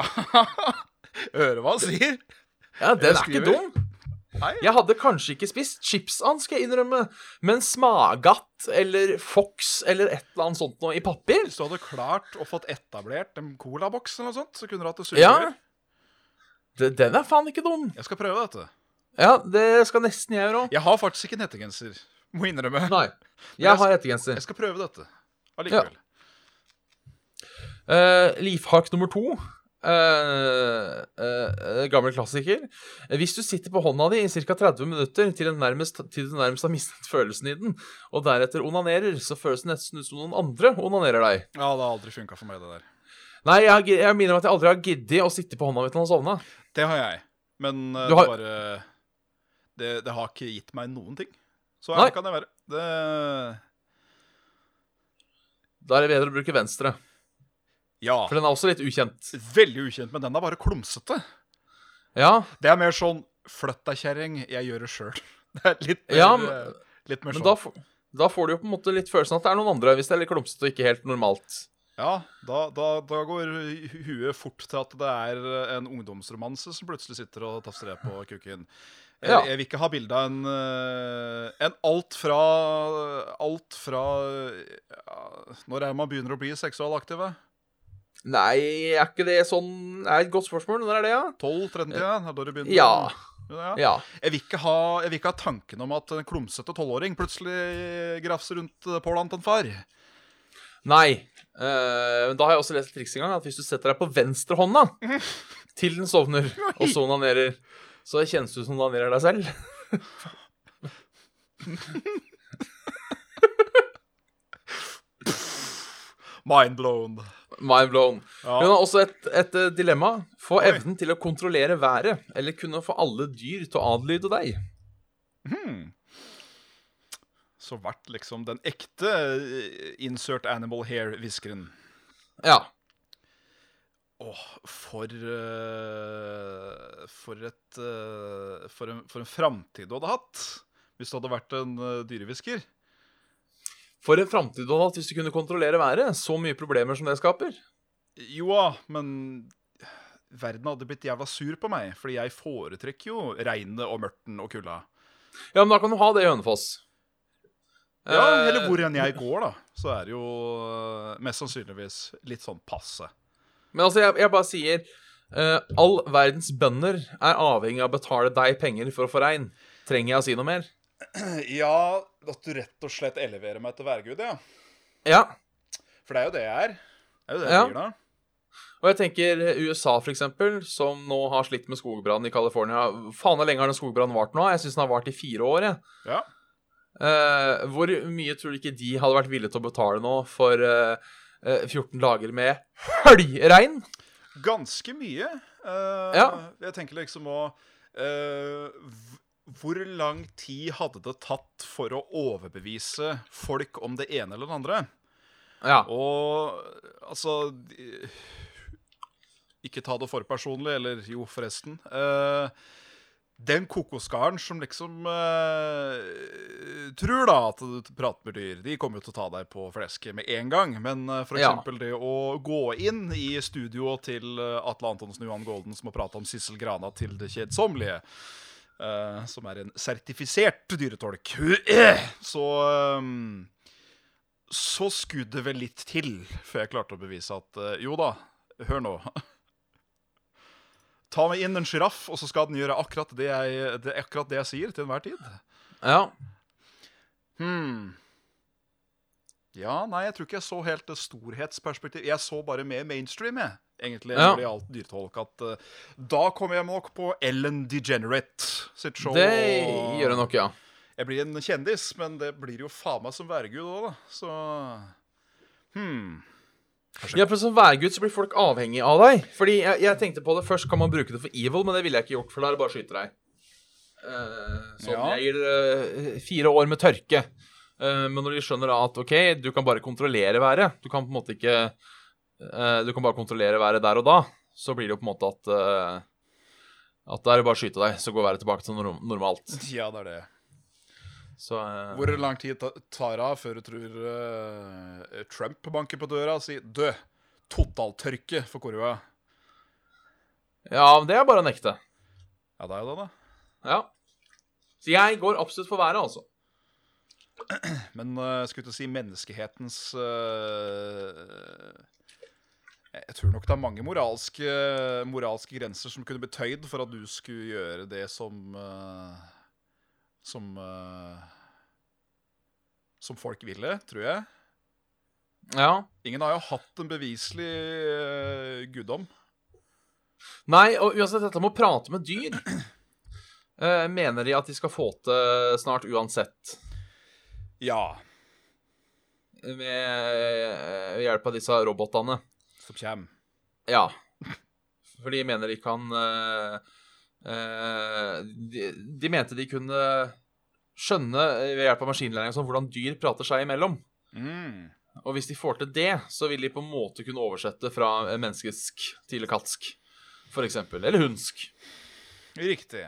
Speaker 3: [laughs] Hører hva han sier.
Speaker 2: Ja, den
Speaker 3: Jeg
Speaker 2: er ikke
Speaker 3: skriver.
Speaker 2: dum.
Speaker 3: Nei.
Speaker 2: Jeg hadde kanskje ikke spist chipsan, skal jeg innrømme, men smagatt eller Fox eller et eller annet sånt noe i papir.
Speaker 3: Hvis du hadde klart å fått etablert en colaboks eller noe sånt, så kunne du hatt det
Speaker 2: Ja.
Speaker 3: sugerør.
Speaker 2: Det- Den er faen ikke dum.
Speaker 3: Jeg skal prøve dette.
Speaker 2: Ja, det skal nesten jeg gjøre òg.
Speaker 3: Jeg har faktisk ikke en hettegenser, må innrømme.
Speaker 2: Nei.
Speaker 3: jeg-
Speaker 2: Jeg har hettegenser.
Speaker 3: Jeg skal prøve dette allikevel.
Speaker 2: Uh, Lifhack nummer to. Eh, eh, eh, gammel klassiker. Hvis du sitter på hånda di i ca. 30 minutter til, den nærmest, til du nærmest har mistet følelsen i den, og deretter onanerer, så føles det nesten ut som noen andre onanerer deg.
Speaker 3: Ja, det har aldri funka for meg, det der.
Speaker 2: Nei, jeg, har gi- jeg minner om at jeg aldri har giddet å sitte på hånda mi til han sovna.
Speaker 3: Det har jeg. Men eh,
Speaker 2: Du har-
Speaker 3: det bare det, det har ikke gitt meg noen ting. Så
Speaker 2: Nei.
Speaker 3: ærlig kan jeg være. Det
Speaker 2: Da er det bedre å bruke venstre,
Speaker 3: Ja.
Speaker 2: for den er også litt ukjent.
Speaker 3: Veldig ukjent, men den er bare klumsete.
Speaker 2: Ja,
Speaker 3: Det er mer sånn Flytt deg, kjerring, jeg gjør det sjøl. [laughs] Det er litt mer,
Speaker 2: Ja,
Speaker 3: eh,
Speaker 2: men,
Speaker 3: litt mer
Speaker 2: men
Speaker 3: sånn.
Speaker 2: da, får- da får du jo på en måte litt følelsen at det er noen andre, hvis det er litt klumsete og ikke helt normalt.
Speaker 3: Ja, da, da, da går hu- huet fort til at det er eh, en ungdomsromanse som plutselig sitter og tafser på kuken. Jeg,
Speaker 2: Ja.
Speaker 3: jeg vil ikke ha bilde av en, eh, en alt fra Alt fra ja, Når er man begynner å bli seksualaktive?
Speaker 2: Nei, er ikke det sånn Er et godt spørsmål. Når er det, ja?
Speaker 3: 12-13? Ja. er da du begynner?
Speaker 2: Ja.
Speaker 3: Ja.
Speaker 2: Ja.
Speaker 3: Jeg, vil ikke ha, jeg vil ikke ha tanken om at en klumsete tolvåring plutselig grafser rundt pålan til en far.
Speaker 2: Nei. Eh, men da har jeg også lest et triks en gang, at hvis du setter deg på venstre hånda
Speaker 3: [laughs]
Speaker 2: til den sovner, og så onanerer, så kjennes du som du onanerer deg selv. [laughs]
Speaker 3: Mind blown.
Speaker 2: Mind blown.
Speaker 3: Ja.
Speaker 2: Hun har også et, et eh, dilemma. Få evnen til å kontrollere været, eller kunne få alle dyr til å adlyde deg.
Speaker 3: Så vært liksom den ekte eh, insert animal hair-hviskeren.
Speaker 2: Ja.
Speaker 3: Åh, for eh, For et eh, For en, for en framtid du hadde hatt hvis du hadde vært en eh, dyrehvisker.
Speaker 2: For en framtid, Donald, hvis du kunne kontrollere været. Så mye problemer som det skaper.
Speaker 3: Jo da, men verden hadde blitt jævla sur på meg, fordi jeg foretrekker jo regnet og mørten og kulda.
Speaker 2: Ja, men da kan du ha det i Hønefoss.
Speaker 3: Ja,
Speaker 2: Eh,
Speaker 3: eller hvor enn jeg går, da, så er det jo eh, mest sannsynligvis litt sånn passe.
Speaker 2: Men altså, jeg, jeg bare sier eh, All verdens bønder er avhengig av å betale deg penger for å få regn. Trenger jeg å si noe mer?
Speaker 3: Ja, at du rett og slett eleverer meg til værgud, ja.
Speaker 2: Ja.
Speaker 3: For det er jo det jeg er. Det er jo det
Speaker 2: Ja.
Speaker 3: jeg blir da.
Speaker 2: Og jeg tenker eh, USA, for eksempel, som nå har slitt med skogbrann i California. Faen hvor lenge har den skogbrannen vart nå? Jeg syns den har vart i fire år, jeg.
Speaker 3: Ja.
Speaker 2: Eh, hvor mye tror du ikke de hadde vært villige til å betale nå for eh, eh, 14 dager med høljregn?
Speaker 3: Ganske mye. Eh,
Speaker 2: Ja.
Speaker 3: Jeg tenker liksom å eh, v- Hvor lang tid hadde det tatt for å overbevise folk om det ene eller det andre?
Speaker 2: Ja.
Speaker 3: Og altså de- Ikke ta det for personlig, eller jo, forresten. Eh, den kokoskaren som liksom eh, tror da at du prater med dyr, de kommer jo til å ta deg på flesket med en gang. Men eh, for
Speaker 2: Ja.
Speaker 3: eksempel det å gå inn i studioet til eh, Atle Antonsen og Johan Golden, som har prata om Sissel Grana til det kjedsommelige, eh, som er en sertifisert dyretolk, [clears throat] så eh, så skulle det vel litt til før jeg klarte å bevise at eh, jo da, hør nå. Ta meg inn en sjiraff, og så skal den gjøre akkurat det jeg, det, akkurat det jeg sier til enhver tid.
Speaker 2: ja.
Speaker 3: Hmm. Ja, nei, jeg tror ikke jeg så helt det storhetsperspektiv. Jeg så bare mer mainstream, jeg. Egentlig,
Speaker 2: Ja.
Speaker 3: når det gjaldt dyretalk. At eh, da kommer jeg nok på Ellen DeGenerate sitt show.
Speaker 2: Det
Speaker 3: og-
Speaker 2: gjør det nok, ja.
Speaker 3: Jeg blir en kjendis, men det blir jo faen meg som værgud òg, da. hmm. Så
Speaker 2: Ja, for Som værgutt så blir folk avhengig av deg. Fordi jeg, jeg tenkte på det Først kan man bruke det for evil, men det ville jeg ikke gjort, for da er det bare å skyte deg. Eh, sånn,
Speaker 3: Ja.
Speaker 2: Jeg gir dere eh, fire år med tørke. Eh, men når de skjønner da at OK, du kan bare kontrollere været Du kan på en måte ikke eh, Du kan bare kontrollere været der og da, så blir det jo på en måte at eh, At da er det bare å skyte deg, så går været tilbake til norm normalt.
Speaker 3: Ja, det er det.
Speaker 2: Så eh,
Speaker 3: Hvor lang tid ta- tar det av før du tror eh, Trump banker på døra og sier 'dø, totaltørke for korva'?
Speaker 2: Ja, men det er bare å nekte.
Speaker 3: Ja, det er jo det, da.
Speaker 2: Ja. Så jeg går absolutt for været, altså.
Speaker 3: Men eh, skulle til å si menneskehetens eh, Jeg tror nok det er mange moralske, moralske grenser som kunne blitt tøyd for at du skulle gjøre det som eh, Som eh, Som folk ville, tror jeg.
Speaker 2: Ja.
Speaker 3: Ingen har jo hatt en beviselig eh, guddom.
Speaker 2: Nei, og uansett dette med å prate med dyr eh, Mener de at de skal få til snart uansett
Speaker 3: Ja,
Speaker 2: Med eh, ved hjelp av disse robotene
Speaker 3: som kjem.
Speaker 2: Ja For de mener de kan eh, eh, de, de mente de kunne skjønne eh, ved hjelp av maskinlæring og sånn, Hvordan dyr prater seg imellom
Speaker 3: Mm.
Speaker 2: Og hvis de får til det, så vil de på en måte kunne oversette Fra eh, menneskesk til katsk For eksempel, eller hundsk
Speaker 3: Riktig.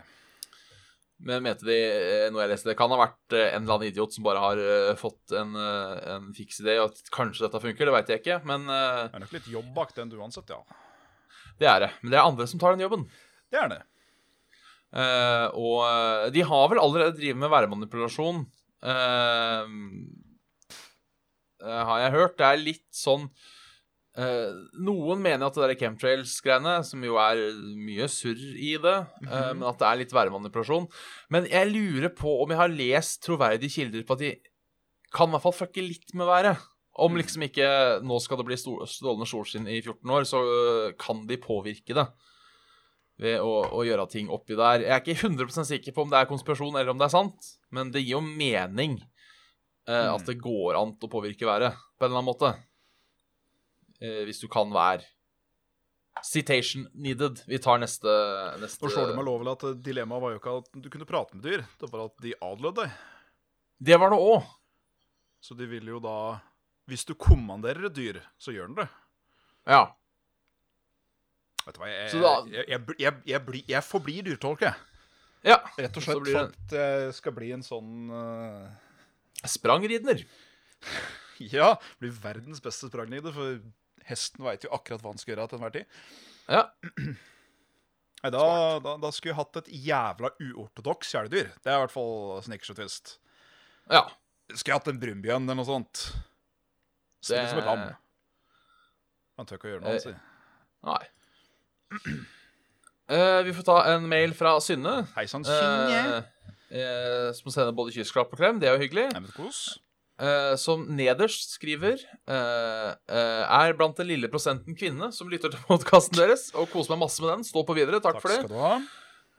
Speaker 2: Men mente de, eh, noe jeg leste, det kan ha vært eh, en eller annen idiot som bare har eh, fått en, eh, en fiks idé, og at kanskje dette funker, det veit jeg ikke, men eh,
Speaker 3: Det er nok litt jobb bak den uansett, ja.
Speaker 2: det er det. Men det er andre som tar den jobben.
Speaker 3: Det er det.
Speaker 2: Eh, og eh, de har vel allerede drevet med værmanipulasjon, eh, eh, har jeg hørt. Det er litt sånn eh, Noen mener at det der chemtrails-greiene, som jo er mye surr i det, eh, men at det er litt værmanipulasjon. Men jeg lurer på om jeg har lest troverdige kilder på at de kan i hvert fall fucke litt med været. Om liksom ikke nå skal det bli sto- strålende solskinn i 14 år, så øh, kan de påvirke det ved å, å gjøre ting oppi der. Jeg er ikke 100 sikker på om det er konspirasjon eller om det er sant, men det gir jo mening eh, at det går an å påvirke været på en eller annen måte. Eh, hvis du kan vær. Citation needed. Vi tar neste, neste
Speaker 3: Nå slår det meg lovelig at eh, dilemmaet var jo ikke at du kunne prate med dyr, det var at de adlød deg.
Speaker 2: Det var det òg.
Speaker 3: Så de vil jo da Hvis du kommanderer et dyr, så gjør den det.
Speaker 2: Ja.
Speaker 3: Vet du hva, jeg,
Speaker 2: Så da-
Speaker 3: jeg, jeg, bli- jeg, jeg, blir- jeg forblir dyrtolk, jeg.
Speaker 2: ja.
Speaker 3: Rett og
Speaker 2: Så
Speaker 3: slett
Speaker 2: blir
Speaker 3: sånn
Speaker 2: det-
Speaker 3: at jeg skal bli en sånn eh,
Speaker 2: Sprangridner.
Speaker 3: Ja, bli verdens beste sprangleder, for hesten veit jo akkurat hva han skal gjøre til enhver tid.
Speaker 2: Ja.
Speaker 3: Nei, da, da, da skulle jeg hatt et jævla uortodoks kjæledyr. Det er i hvert fall snickers og twist.
Speaker 2: Ja.
Speaker 3: Skulle jeg hatt en brunbjørn eller noe sånt. Stille
Speaker 2: Det-
Speaker 3: som et lam. Han tør ikke å gjøre noe, altså.
Speaker 2: Eh,
Speaker 3: han sier.
Speaker 2: Nei. [clears throat] Eh, vi får ta en mail fra Synne.
Speaker 3: Hei sann,
Speaker 2: eh,
Speaker 3: Synne.
Speaker 2: eh, som sender både kyssklapp og klem. Det er jo hyggelig.
Speaker 3: Nei, men kos.
Speaker 2: Eh, som nederst skriver eh, eh, Er blant den lille prosenten kvinne som lytter til [laughs] podkasten deres. Og koser meg masse med den. Stå på videre. Takk, for det.
Speaker 3: skal du ha.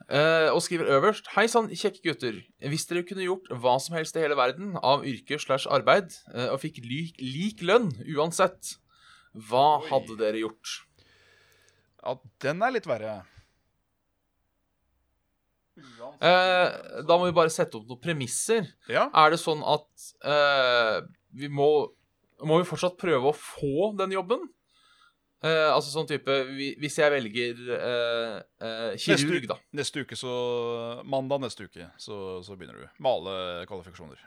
Speaker 2: Eh, og skriver øverst Hei sann, kjekke gutter. Hvis dere kunne gjort hva som helst i hele verden av yrke slash arbeid, eh, og fikk lik, lik lønn uansett, hva
Speaker 3: Oi.
Speaker 2: hadde dere gjort?
Speaker 3: Ja, den er litt verre.
Speaker 2: Eh, da må vi bare sette opp noen premisser.
Speaker 3: Ja.
Speaker 2: Er det sånn at eh, vi må Må vi fortsatt prøve å få den jobben? Eh, altså sånn type vi- Hvis jeg velger eh, eh, kirurg,
Speaker 3: Neste-
Speaker 2: da.
Speaker 3: Neste uke så Mandag neste uke så, så begynner du. Male kvalifikasjoner.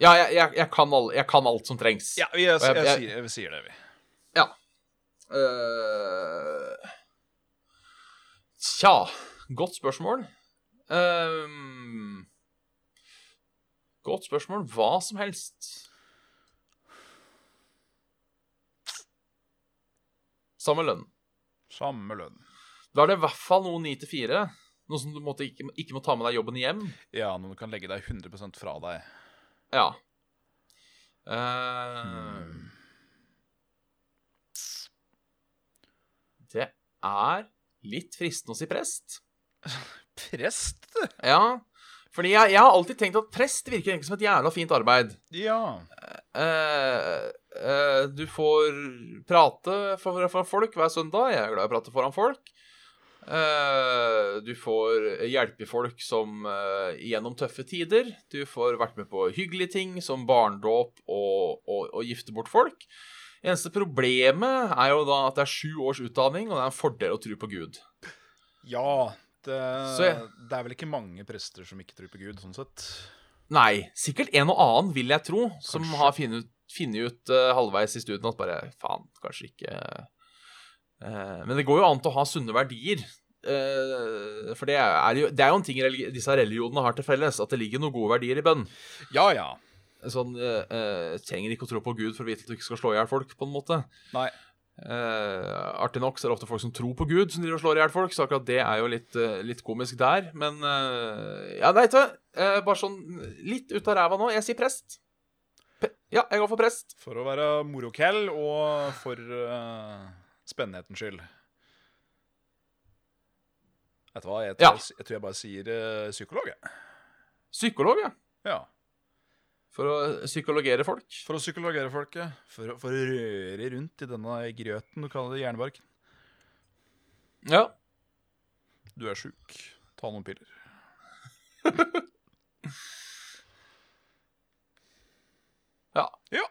Speaker 2: Ja, jeg, jeg, jeg, kan, all, jeg kan alt som trengs.
Speaker 3: Ja, vi, jeg,
Speaker 2: Og jeg-
Speaker 3: jeg,
Speaker 2: jeg-
Speaker 3: sier, jeg sier det, vi.
Speaker 2: Eh, Tja, godt spørsmål. Ehm, godt spørsmål. Hva som helst. Samme lønn.
Speaker 3: Samme lønn.
Speaker 2: Da er det i hvert fall noe 9 til 4. Noe som du måtte ikke, ikke må ta med deg jobben hjem.
Speaker 3: Ja, når du kan legge deg 100 fra deg.
Speaker 2: Ja. Eh,
Speaker 3: Mm.
Speaker 2: Det er litt fristende å si prest.
Speaker 3: Prest?
Speaker 2: Ja, fordi jeg, jeg har alltid tenkt at prest virker egentlig som et jævla fint arbeid.
Speaker 3: Ja.
Speaker 2: Eh, eh, du får prate for, for folk hver søndag. Jeg er glad i å prate foran folk. Eh, du får hjelpe folk som eh, gjennom tøffe tider. Du får vært med på hyggelige ting som barndåp og, og, og gifte bort folk. Eneste problemet er jo da at det er sju års utdanning, og det er en fordel å tro på Gud.
Speaker 3: Ja. Det,
Speaker 2: Så jeg-
Speaker 3: det er vel ikke mange prester som ikke tror på Gud, sånn sett.
Speaker 2: Nei, sikkert en og annen, vil jeg tro, som
Speaker 3: Kanskje.
Speaker 2: har funnet ut, funnet ut eh, halvveis i studien at bare faen, kanskje ikke eh, Men det går jo an til å ha sunne verdier. eh, for det er, jo, det er jo en ting religi disse religionene har til felles, at det ligger noen gode verdier i bønn.
Speaker 3: Ja, ja.
Speaker 2: Sånn, eh, eh, Trenger ikke å tro på Gud for å vite at du ikke skal slå i hjel folk, på en måte.
Speaker 3: Nei.
Speaker 2: Eh, artig nok så er det ofte folk som tror på Gud, som driver og slår i hjel folk, så akkurat det er jo litt, eh, litt komisk der. Men eh, ja, nei, vet du hva, eh, bare sånn litt ut av ræva nå. Jeg sier prest. P ja, jeg går for prest.
Speaker 3: For å være morokell og for eh, spennhetens skyld. Vet du hva, jeg tror,
Speaker 2: Ja.
Speaker 3: jeg, tror jeg bare sier eh, psykolog, jeg.
Speaker 2: Psykolog, ja.
Speaker 3: Ja.
Speaker 2: For å eh, psykologere folk.
Speaker 3: For å psykologere folket. For, å- for å røre rundt i denne grøten du kaller jernbarken.
Speaker 2: Ja.
Speaker 3: Du er sjuk. Ta noen piller.
Speaker 2: Ja.
Speaker 3: Ja.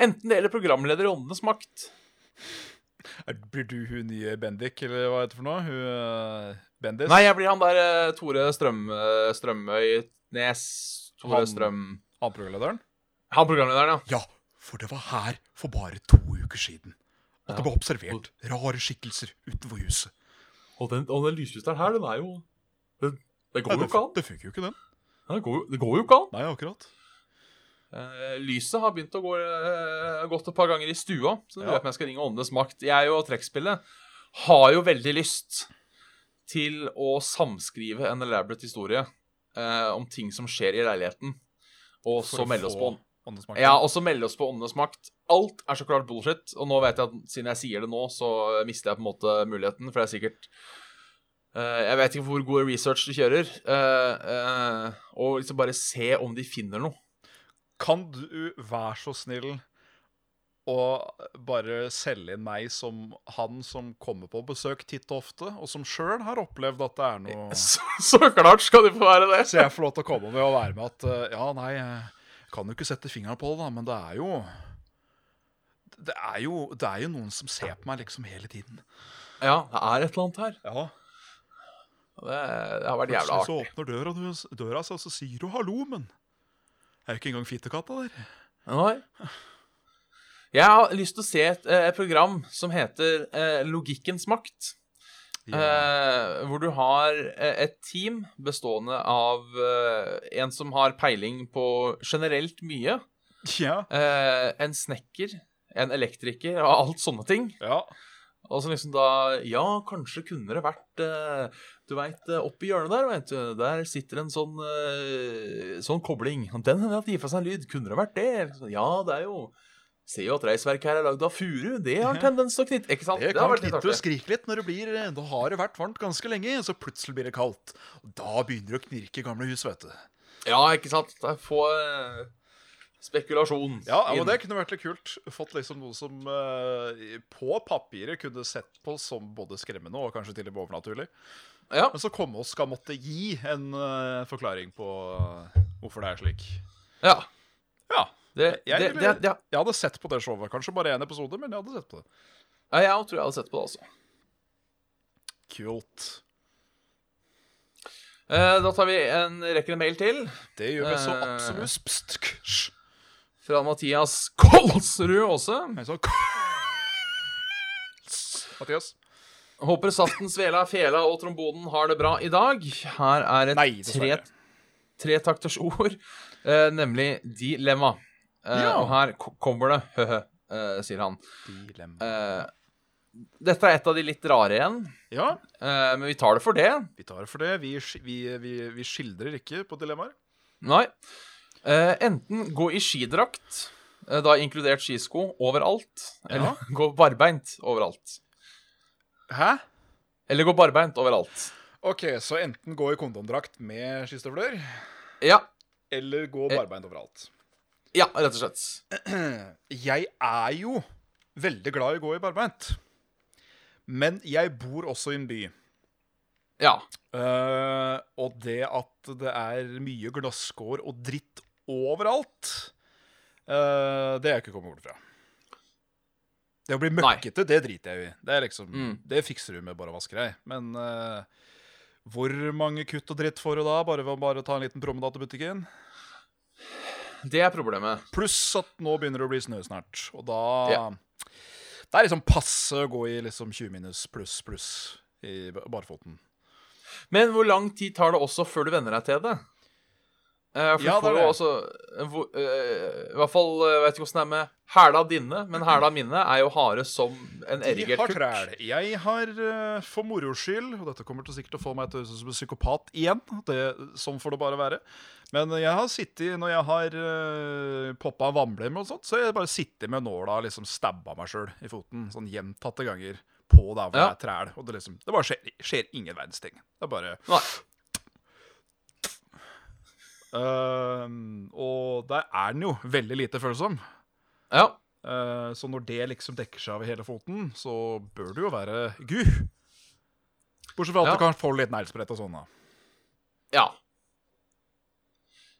Speaker 2: Enten det gjelder programleder i Åndenes makt.
Speaker 3: Er, blir du hun nye Bendik, eller hva heter det for noe? Hun eh, Bendis?
Speaker 2: Nei, jeg blir han der eh, Tore Strøm, eh, Strømøy Nes Tore
Speaker 3: Han-
Speaker 2: Strøm
Speaker 3: Han programlederen?
Speaker 2: Han programlederen, ja.
Speaker 3: Ja, for det var her for bare to uker siden at
Speaker 2: det ble
Speaker 3: observert rare skikkelser utenfor huset.
Speaker 2: Og den, og den lyslysteren her, den er jo Den, den går jo ikke an.
Speaker 3: det funker jo ikke, den.
Speaker 2: Den går, jo- det går jo ikke an.
Speaker 3: Nei, akkurat.
Speaker 2: Eh, lyset har begynt å gå eh, gått et par ganger i stua, så det lurer
Speaker 3: Ja.
Speaker 2: jeg på om jeg skal ringe Åndenes makt. Jeg og trekkspillet har jo veldig lyst til å samskrive en elaborate historie eh, om ting som skjer i leiligheten, og så melde oss på
Speaker 3: åndesmaken.
Speaker 2: ja, og så melde oss på Åndenes makt. Alt er så klart bullshit, og nå vet jeg at siden jeg sier det nå, så mister jeg på en måte muligheten, for det er sikkert eh, Jeg vet ikke hvor god research du kjører, eh, eh, og liksom bare se om de finner noe.
Speaker 3: Kan du være så snill å bare selge inn meg som han som kommer på besøk titt og ofte, og som sjøl har opplevd at det er
Speaker 2: [laughs]
Speaker 3: noe
Speaker 2: Så, så klart skal de få være det.
Speaker 3: Så jeg får lov til å komme med og være med at eh, Ja, nei, jeg kan jo ikke sette fingeren på det, da, men det er jo det er, jo, det er jo noen som ser på meg liksom hele tiden.
Speaker 2: Ja, det er et eller annet her.
Speaker 3: Ja,
Speaker 2: Det, det har vært jævla
Speaker 3: Plutselig så
Speaker 2: artig.
Speaker 3: åpner døra, du- døra seg, og så sier hun 'hallo', men er jo ikke engang fittekatta der.
Speaker 2: Nei. Jeg har lyst til å se et, eh, et program som heter eh, Logikkens makt. Eh, hvor du har eh, et team bestående av eh, en som har peiling på generelt mye.
Speaker 3: Ja.
Speaker 2: Eh, en snekker, en elektriker og alt sånne ting.
Speaker 3: ja.
Speaker 2: Og så liksom da Ja, kanskje kunne det vært eh, Du veit, oppi hjørnet der, vet du, der sitter en sånn eh, sånn kobling. Den hender at det gir fra seg en lyd. Kunne det vært det? Eller sånn, Ja, det er jo Ser jo at reisverket her er lagd av furu. Det har
Speaker 3: Ja.
Speaker 2: tendens til å knytte Ikke sant?
Speaker 3: Det
Speaker 2: har
Speaker 3: kan
Speaker 2: vært litt
Speaker 3: knitte og
Speaker 2: artig.
Speaker 3: skrike litt når det blir Da har det vært varmt ganske lenge, så plutselig blir det kaldt. Og da begynner det å knirke i gamle hus, vet du.
Speaker 2: Ja, ikke sant? Det er få eh, spekulasjon.
Speaker 3: Ja, men
Speaker 2: inn.
Speaker 3: det kunne vært litt kult. Fått liksom noe som eh, på papiret kunne sett på som både skremmende og kanskje til og med overnaturlig.
Speaker 2: Ja.
Speaker 3: Men så komme og skal måtte gi en eh, forklaring på eh, hvorfor det er slik.
Speaker 2: ja.
Speaker 3: Ja.
Speaker 2: Det,
Speaker 3: Jeg
Speaker 2: det,
Speaker 3: ville-
Speaker 2: det, det,
Speaker 3: Jeg hadde sett på det showet. Kanskje bare én episode, men jeg hadde sett på det.
Speaker 2: ja, jeg tror jeg hadde sett på det, altså.
Speaker 3: Kult.
Speaker 2: Eh, da tar vi en, rekker en mail til.
Speaker 3: Det gjør vi så
Speaker 2: Eh.
Speaker 3: absolutt. Pst, ksh.
Speaker 2: Fra Mathias Kolsrud også.
Speaker 3: Jeg sa kss. Mathias?
Speaker 2: Håper saften, svela, fela og trombonen har det bra i dag. Her er et
Speaker 3: Nei, dessverre.
Speaker 2: tre- tretakters ord, eh, nemlig dilemma. Eh,
Speaker 3: Ja.
Speaker 2: Og her ko- kommer det, høhø, eh, sier han.
Speaker 3: Dilemma.
Speaker 2: Eh, dette er et av de litt rare igjen,
Speaker 3: Ja,
Speaker 2: eh, men vi tar det for det.
Speaker 3: vi tar det for det. Vi, sk- vi, vi, vi skildrer ikke på dilemmaer.
Speaker 2: Nei. Eh, enten gå i skidrakt, eh, da inkludert skisko, overalt. Eller gå barbeint overalt.
Speaker 3: Hæ?
Speaker 2: Eller gå barbeint overalt.
Speaker 3: OK, så enten gå i kondomdrakt med skistøvler,
Speaker 2: Ja.
Speaker 3: eller gå
Speaker 2: Eh.
Speaker 3: barbeint overalt.
Speaker 2: Ja, rett og slett.
Speaker 3: Jeg er jo veldig glad i å gå i barbeint. Men jeg bor også i en by.
Speaker 2: Ja.
Speaker 3: Eh, og det at det er mye glasskår og dritt overalt, eh, det er jeg ikke kommet bort fra. Det å bli
Speaker 2: Nei.
Speaker 3: møkkete, det driter jeg i. Det, er liksom,
Speaker 2: Mm.
Speaker 3: det fikser du med bare å vaske deg. Men eh, hvor mange kutt og dritt får du da, bare ved å bare ta en liten promenade til butikken?
Speaker 2: Det er problemet.
Speaker 3: Pluss at nå begynner det å bli snø snart, og da
Speaker 2: Ja.
Speaker 3: Det er liksom passe å gå i liksom 20 minus pluss pluss i ba- barfoten.
Speaker 2: Men hvor lang tid tar det også før du venner deg til det? Eh, for
Speaker 3: Ja,
Speaker 2: du får
Speaker 3: det er
Speaker 2: jo
Speaker 3: det.
Speaker 2: også eh, hvor- eh, I hvert fall eh, jeg vet ikke åssen det er med hæla dine, men hæla mine er jo harde som en
Speaker 3: Jeg
Speaker 2: erigert
Speaker 3: har
Speaker 2: kukk.
Speaker 3: træl. Jeg har eh, for moro skyld, og dette kommer til sikkert til å få meg til å høres ut som en psykopat igjen, det, sånn får det bare være, men jeg har sittet, når jeg har uh, poppa vannblemmer og sånt, så har jeg bare sittet med nåla og liksom stabba meg sjøl i foten, sånn gjentatte ganger, på der hvor det
Speaker 2: Ja.
Speaker 3: er træl. Og det liksom Det bare skjer, skjer ingen verdens ting. Det er bare
Speaker 2: Nei.
Speaker 3: Ehm, og der er den jo veldig lite følsom.
Speaker 2: Ja.
Speaker 3: Eh, så når det liksom dekker seg over hele foten, så bør det jo være gu. Bortsett fra at
Speaker 2: Ja.
Speaker 3: du kan få litt neglesprett og sånn. da.
Speaker 2: ja.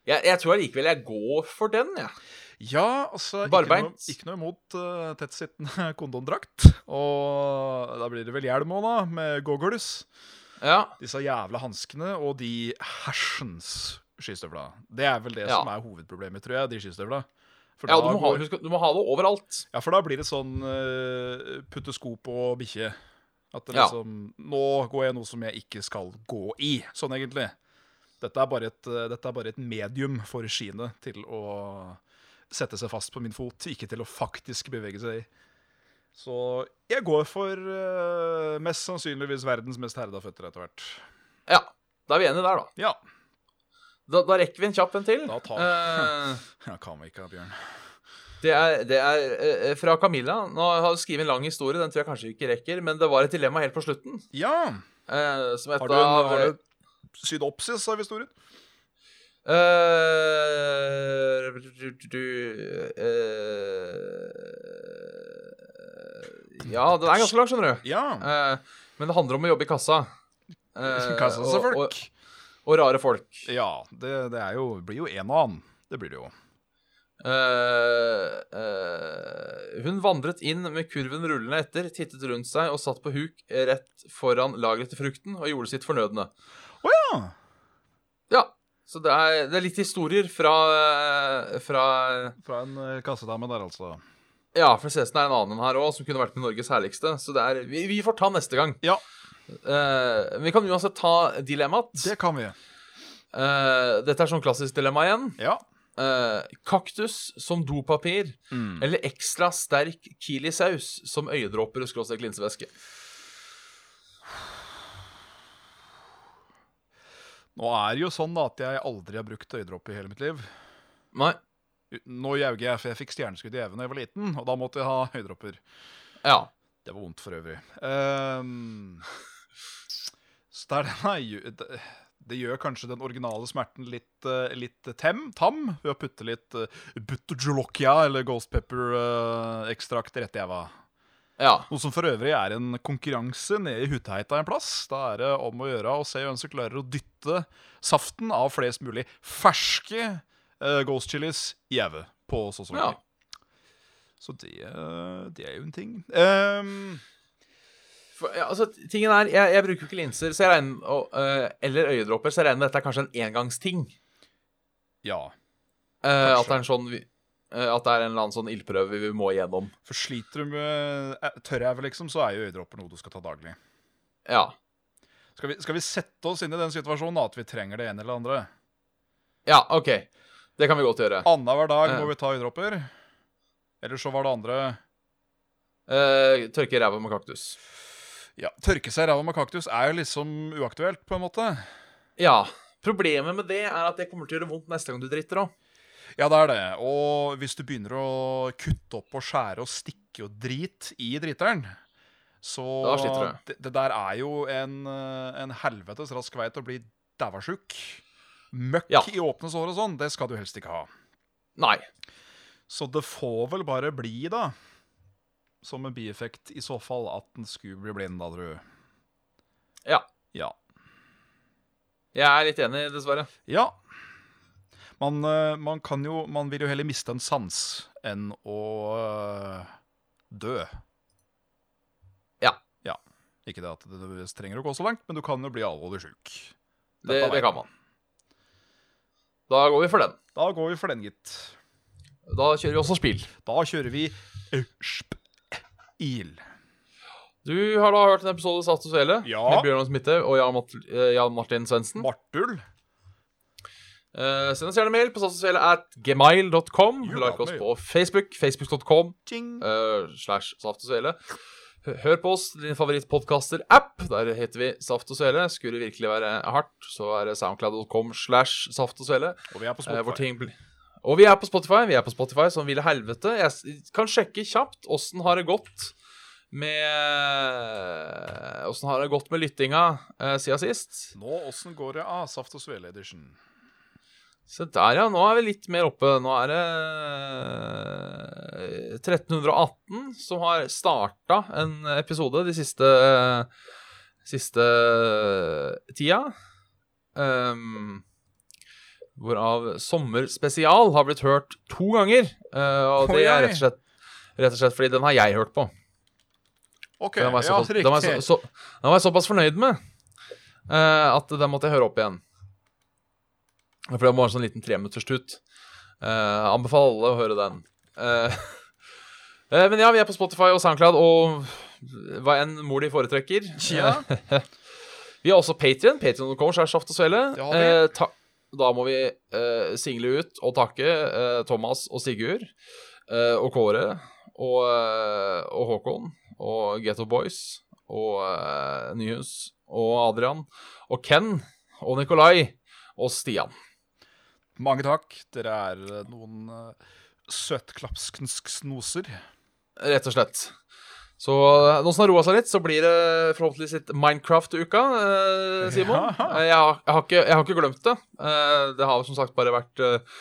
Speaker 2: Jeg, jeg tror allikevel jeg går for den, jeg.
Speaker 3: Ja, altså ikke noe,
Speaker 2: Barbeint.
Speaker 3: ikke noe imot eh, tettsittende [laughs] kondomdrakt. Og da blir det vel hjelm òg, da, med goggles.
Speaker 2: Ja.
Speaker 3: Disse jævla hanskene og de hersens skistøvla. Det er vel det
Speaker 2: Ja.
Speaker 3: som er hovedproblemet, tror jeg, de skistøvla. For
Speaker 2: ja
Speaker 3: da
Speaker 2: du, må ha,
Speaker 3: går-
Speaker 2: husk, at du må ha det overalt.
Speaker 3: Ja, for da blir det sånn eh, putte sko på bikkje. At det
Speaker 2: Ja.
Speaker 3: liksom Nå går jeg i noe som jeg ikke skal gå i, sånn egentlig. Dette er bare et, eh, dette er bare et medium for skiene til å sette seg fast på min fot, ikke til å faktisk bevege seg i. Så jeg går for eh, mest sannsynligvis verdens mest herda føtter etter hvert.
Speaker 2: Ja. Da er vi enige der, da.
Speaker 3: Ja.
Speaker 2: Da, da rekker vi en kjapp en til.
Speaker 3: Da tar-
Speaker 2: Eh,
Speaker 3: ja. Kan vi ikke, Bjørn.
Speaker 2: Det er, det er eh, fra Camilla. Nå har hun skrevet en lang historie, den tror jeg kanskje vi ikke rekker, men det var et dilemma helt på slutten.
Speaker 3: Ja!
Speaker 2: eh, som et
Speaker 3: Har du en,
Speaker 2: av-
Speaker 3: har du en synopsis av historien?
Speaker 2: Eh, du- du- du- eh, Ja, den er ganske lang, skjønner du.
Speaker 3: Ja.
Speaker 2: Eh, men det handler om å jobbe i kassa. Eh,
Speaker 3: [laughs] Kassa seg
Speaker 2: Og,
Speaker 3: folk.
Speaker 2: og, og rare folk.
Speaker 3: Ja, det, det er jo, blir jo en og annen. Det blir det jo.
Speaker 2: Eh, eh, hun vandret inn med kurven rullende etter, tittet rundt seg og satt på huk rett foran lageret til frukten og gjorde sitt fornødne.
Speaker 3: Å ja!
Speaker 2: Ja, så det er, det er litt historier fra, eh, fra
Speaker 3: Fra en eh, kassedame der, altså.
Speaker 2: Ja, for Cesen er en annen enn her òg, som kunne vært med Norges herligste. Så det er, vi, vi får ta neste gang.
Speaker 3: Ja.
Speaker 2: Eh, vi kan uansett ta dilemmaet.
Speaker 3: Det kan vi.
Speaker 2: Eh, dette er sånn klassisk dilemma igjen.
Speaker 3: Ja.
Speaker 2: Eh, kaktus som dopapir.
Speaker 3: Mm.
Speaker 2: Eller ekstra sterk chilisaus som øyedråper og skråstrek linsevæske.
Speaker 3: Nå er det jo sånn da at jeg aldri har brukt øyedråper i hele mitt liv.
Speaker 2: Nei.
Speaker 3: Nå jauger jeg, for jeg fikk stjerneskudd i evnen da jeg var liten, og da måtte jeg ha øyedråper.
Speaker 2: Ja.
Speaker 3: Det var vondt for øvrig. Ehm, så det er den her ju- det- Det gjør kanskje den originale smerten litt, eh, litt tem, tam ved å putte litt uh, butterjolokia eller ghost pepper-ekstrakt rett i eva.
Speaker 2: Ja.
Speaker 3: Noe som for øvrig er en konkurranse nede i Hutheita en plass. Da er det om å gjøre å se hvem som klarer å dytte saften av flest mulig ferske eh, ghost chilis i æve på så så
Speaker 2: Ja.
Speaker 3: lenge. Så det, eh, det er jo en ting. Ehm,
Speaker 2: For, ja altså, tingen er, jeg, jeg bruker jo ikke linser så jeg regner, og, eh, eller øyedråper, så jeg regner med dette er kanskje en engangsting.
Speaker 3: ja.
Speaker 2: Eh, at det er en sånn vi- eh, At det er en eller annen sånn ildprøve vi må igjennom.
Speaker 3: For sliter du med eh, tørræve, liksom, så er jo øyedråper noe du skal ta daglig.
Speaker 2: Ja.
Speaker 3: Skal vi, skal vi sette oss inn i den situasjonen da, at vi trenger det ene eller det andre?
Speaker 2: Ja, OK. Det kan vi godt gjøre.
Speaker 3: Annenhver dag
Speaker 2: Ja.
Speaker 3: må vi ta øyedråper. Eller så var det andre
Speaker 2: Eh, tørke ræva med kaktus.
Speaker 3: Ja, Tørke seg i ræva med kaktus er jo liksom uaktuelt, på en måte.
Speaker 2: Ja. Problemet med det er at det kommer til å gjøre vondt neste gang du dritter òg.
Speaker 3: Ja, det er det. Og hvis du begynner å kutte opp og skjære og stikke og drit i driteren, så
Speaker 2: Da sliter
Speaker 3: det, det der er jo en, eh, en helvetes rask vei til å bli dævasjuk. Møkk
Speaker 2: Ja.
Speaker 3: i åpne sår og sånn, det skal du helst ikke ha.
Speaker 2: Nei.
Speaker 3: Så det får vel bare bli, da. Som en bieffekt, i så fall, at den skulle bli blind, da, tror du.
Speaker 2: Ja.
Speaker 3: Ja.
Speaker 2: Jeg er litt enig, dessverre.
Speaker 3: ja. Man, eh, man kan jo Man vil jo heller miste en sans enn å eh, dø.
Speaker 2: Ja.
Speaker 3: Ja. Ikke det at det nødvendigvis trenger å gå så langt, men du kan jo bli alvorlig sjuk.
Speaker 2: Det,
Speaker 3: Dette vet
Speaker 2: det kan man. Da går vi for den.
Speaker 3: Da går vi for den, gitt.
Speaker 2: Da kjører vi også spill.
Speaker 3: Da kjører vi Ørspil.
Speaker 2: Du har da hørt en episode av Status Hele
Speaker 3: Ja.
Speaker 2: med Bjørnar Smitte og Jan, Mat eh, Jan Martin Svendsen.
Speaker 3: Martul.
Speaker 2: Eh, send oss gjerne mail på statusfele at gmail.com.
Speaker 3: Jo da,
Speaker 2: Like oss
Speaker 3: mail.
Speaker 2: på Facebook. Facebook.com
Speaker 3: Tjing.
Speaker 2: eh, slash Saft og Svele. Hø- Hør på oss, din favorittpodkaster-app. Der heter vi Saft og Svele. Skulle det virkelig være hardt, så er det soundcloud.com slash Saft og Svele.
Speaker 3: Og vi er på
Speaker 2: eh, hvor
Speaker 3: Spotify.
Speaker 2: ting blir- og vi er på Spotify. Vi er på Spotify som ville helvete. Jeg s- kan sjekke kjapt åssen har det gått med Åssen har det gått med lyttinga eh, siden sist.
Speaker 3: Nå, åssen går det av Saft og Svele Edition?
Speaker 2: Se der, ja. Nå er vi litt mer oppe. Nå er det eh, 1318 som har starta en episode de siste eh, siste eh, tida. Ehm, hvorav Sommerspesial har blitt hørt to ganger. eh, og
Speaker 3: Oi,
Speaker 2: det er
Speaker 3: oi.
Speaker 2: rett og slett Rett og slett fordi den har jeg hørt på.
Speaker 3: OK,
Speaker 2: Den var jeg
Speaker 3: ja,
Speaker 2: såpass, den var
Speaker 3: riktig.
Speaker 2: jeg så, så, den var jeg såpass fornøyd med eh, at den måtte jeg høre opp igjen. For det var en sånn liten treminutterstut. Uh, anbefaler alle å høre den. Eh, [laughs] eh, men ja, vi er på Spotify og SoundCloud og hva enn mor di foretrekker.
Speaker 3: ja.
Speaker 2: Vi har også Patrion. Patrion.com er Saft og Svele.
Speaker 3: Det har vi.
Speaker 2: Eh, ta- da må vi eh, single ut og takke eh, Thomas og Sigurd eh, og Kåre og, eh, og Håkon og Getto Boys og eh, Nyhus og Adrian og Ken og Nikolai og Stian.
Speaker 3: Mange takk. Dere er eh, noen uh, søtklapskensk snoser.
Speaker 2: Rett og slett. Så eh, nå som det har roa seg litt, så blir det forhåpentligvis litt Minecraft til uka, eh, Simon.
Speaker 3: Ja.
Speaker 2: Eh, Jeg, har, jeg, har ikke, jeg har ikke glemt det. Eh, det har som sagt bare vært eh,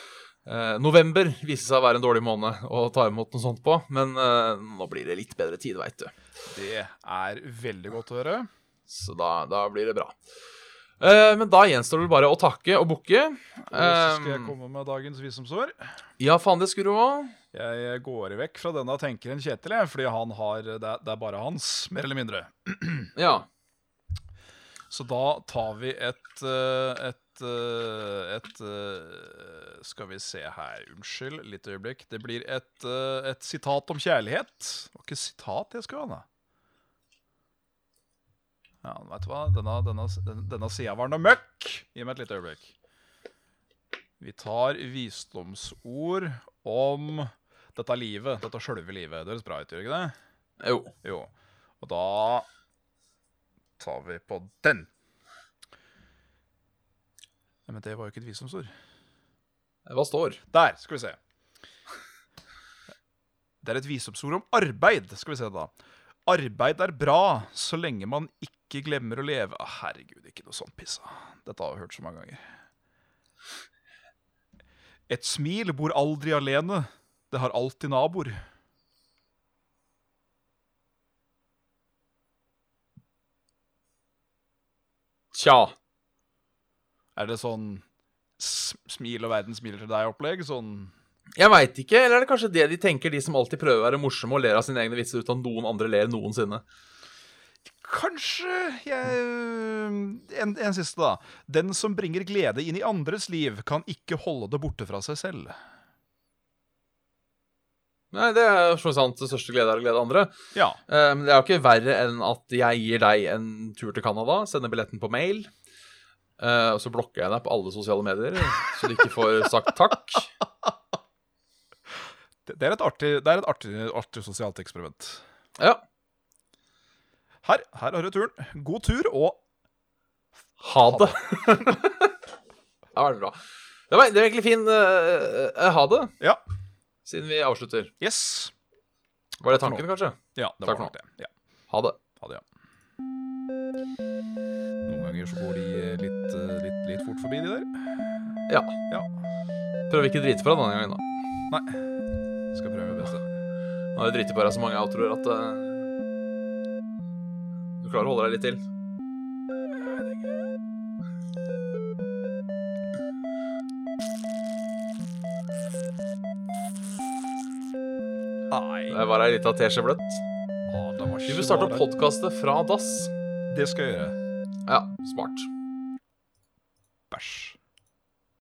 Speaker 2: eh, November viste seg å være en dårlig måned å ta imot noe sånt på, men eh, nå blir det litt bedre tid, veit du.
Speaker 3: Det er veldig godt å høre.
Speaker 2: Så da, da blir det bra. Eh, men da gjenstår det vel bare å takke og bukke.
Speaker 3: Og så skal jeg
Speaker 2: Eh,
Speaker 3: komme med dagens visdomsord.
Speaker 2: ja, faen, det skulle du òg.
Speaker 3: Jeg går vekk fra denne tenkeren Kjetil, jeg, fordi han har, det, er- det er bare hans, mer eller mindre.
Speaker 2: Ja.
Speaker 3: Så da tar vi et eh, et, eh, et eh, Skal vi se her, unnskyld, litt øyeblikk. Det blir et, eh, et sitat om kjærlighet. Det var ikke sitat jeg skulle ha, da. Ja, vet du hva, denne, denne, den- denne sida var noe møkk! Gi meg et lite øyeblikk. Vi tar visdomsord om dette livet, dette sjølve livet. Det høres bra ut, gjør ikke det?
Speaker 2: Jo.
Speaker 3: Jo. Og da tar vi på den. Nei, men det var jo ikke et visdomsord.
Speaker 2: Hva står?
Speaker 3: Der, skal vi se. Det er et visdomsord om arbeid. Skal vi se, da. Arbeid er bra så lenge man ikke glemmer å leve. Å, herregud, ikke noe sånt pissa. Dette har jeg hørt så mange ganger. Et smil bor aldri alene. Det har alltid naboer.
Speaker 2: Tja.
Speaker 3: Er det sånn s- smil og verden smiler til deg-opplegg? Sånn
Speaker 2: Jeg veit ikke, eller er det kanskje det de tenker, de som alltid prøver å være morsomme og ler av sine egne vitser uten at noen andre ler noensinne?
Speaker 3: Kanskje jeg en, en siste, da. Den som bringer glede inn i andres liv, kan ikke holde det borte fra seg selv.
Speaker 2: Nei, det er for så vidt sant. Det største glede er å glede andre.
Speaker 3: Ja.
Speaker 2: Eh, Men det er jo ikke verre enn at jeg gir deg en tur til Canada, sender billetten på mail, eh, og så blokker jeg deg på alle sosiale medier, så du ikke får sagt takk.
Speaker 3: Det, det er et artig, det er et artig, artig sosialt eksperiment.
Speaker 2: Ja.
Speaker 3: Her, her har du turen. God tur og
Speaker 2: [laughs] Ha det. Det har vært bra. Det var, det var egentlig fin eh, eh, ha det,
Speaker 3: Ja.
Speaker 2: siden vi avslutter.
Speaker 3: Yes.
Speaker 2: Var det tanken, kanskje?
Speaker 3: Ja, det
Speaker 2: Takk
Speaker 3: var
Speaker 2: for
Speaker 3: nok det. Ja.
Speaker 2: Ha det.
Speaker 3: Ha det, ja. Noen ganger så går de eh, litt, eh, litt, litt fort forbi, de der.
Speaker 2: Ja.
Speaker 3: Ja.
Speaker 2: Prøv ikke å drite på deg denne gangen, da.
Speaker 3: Skal prøve mitt beste.
Speaker 2: Nå har jeg driti på deg så mange outroer at eh, Du klarer å holde deg litt til.
Speaker 3: Nei.
Speaker 2: Det var ei lita teskje bløtt. Du
Speaker 3: Vi
Speaker 2: vil starte opp podkastet fra dass.
Speaker 3: Det skal jeg gjøre.
Speaker 2: Ja, smart.
Speaker 3: Bæsj.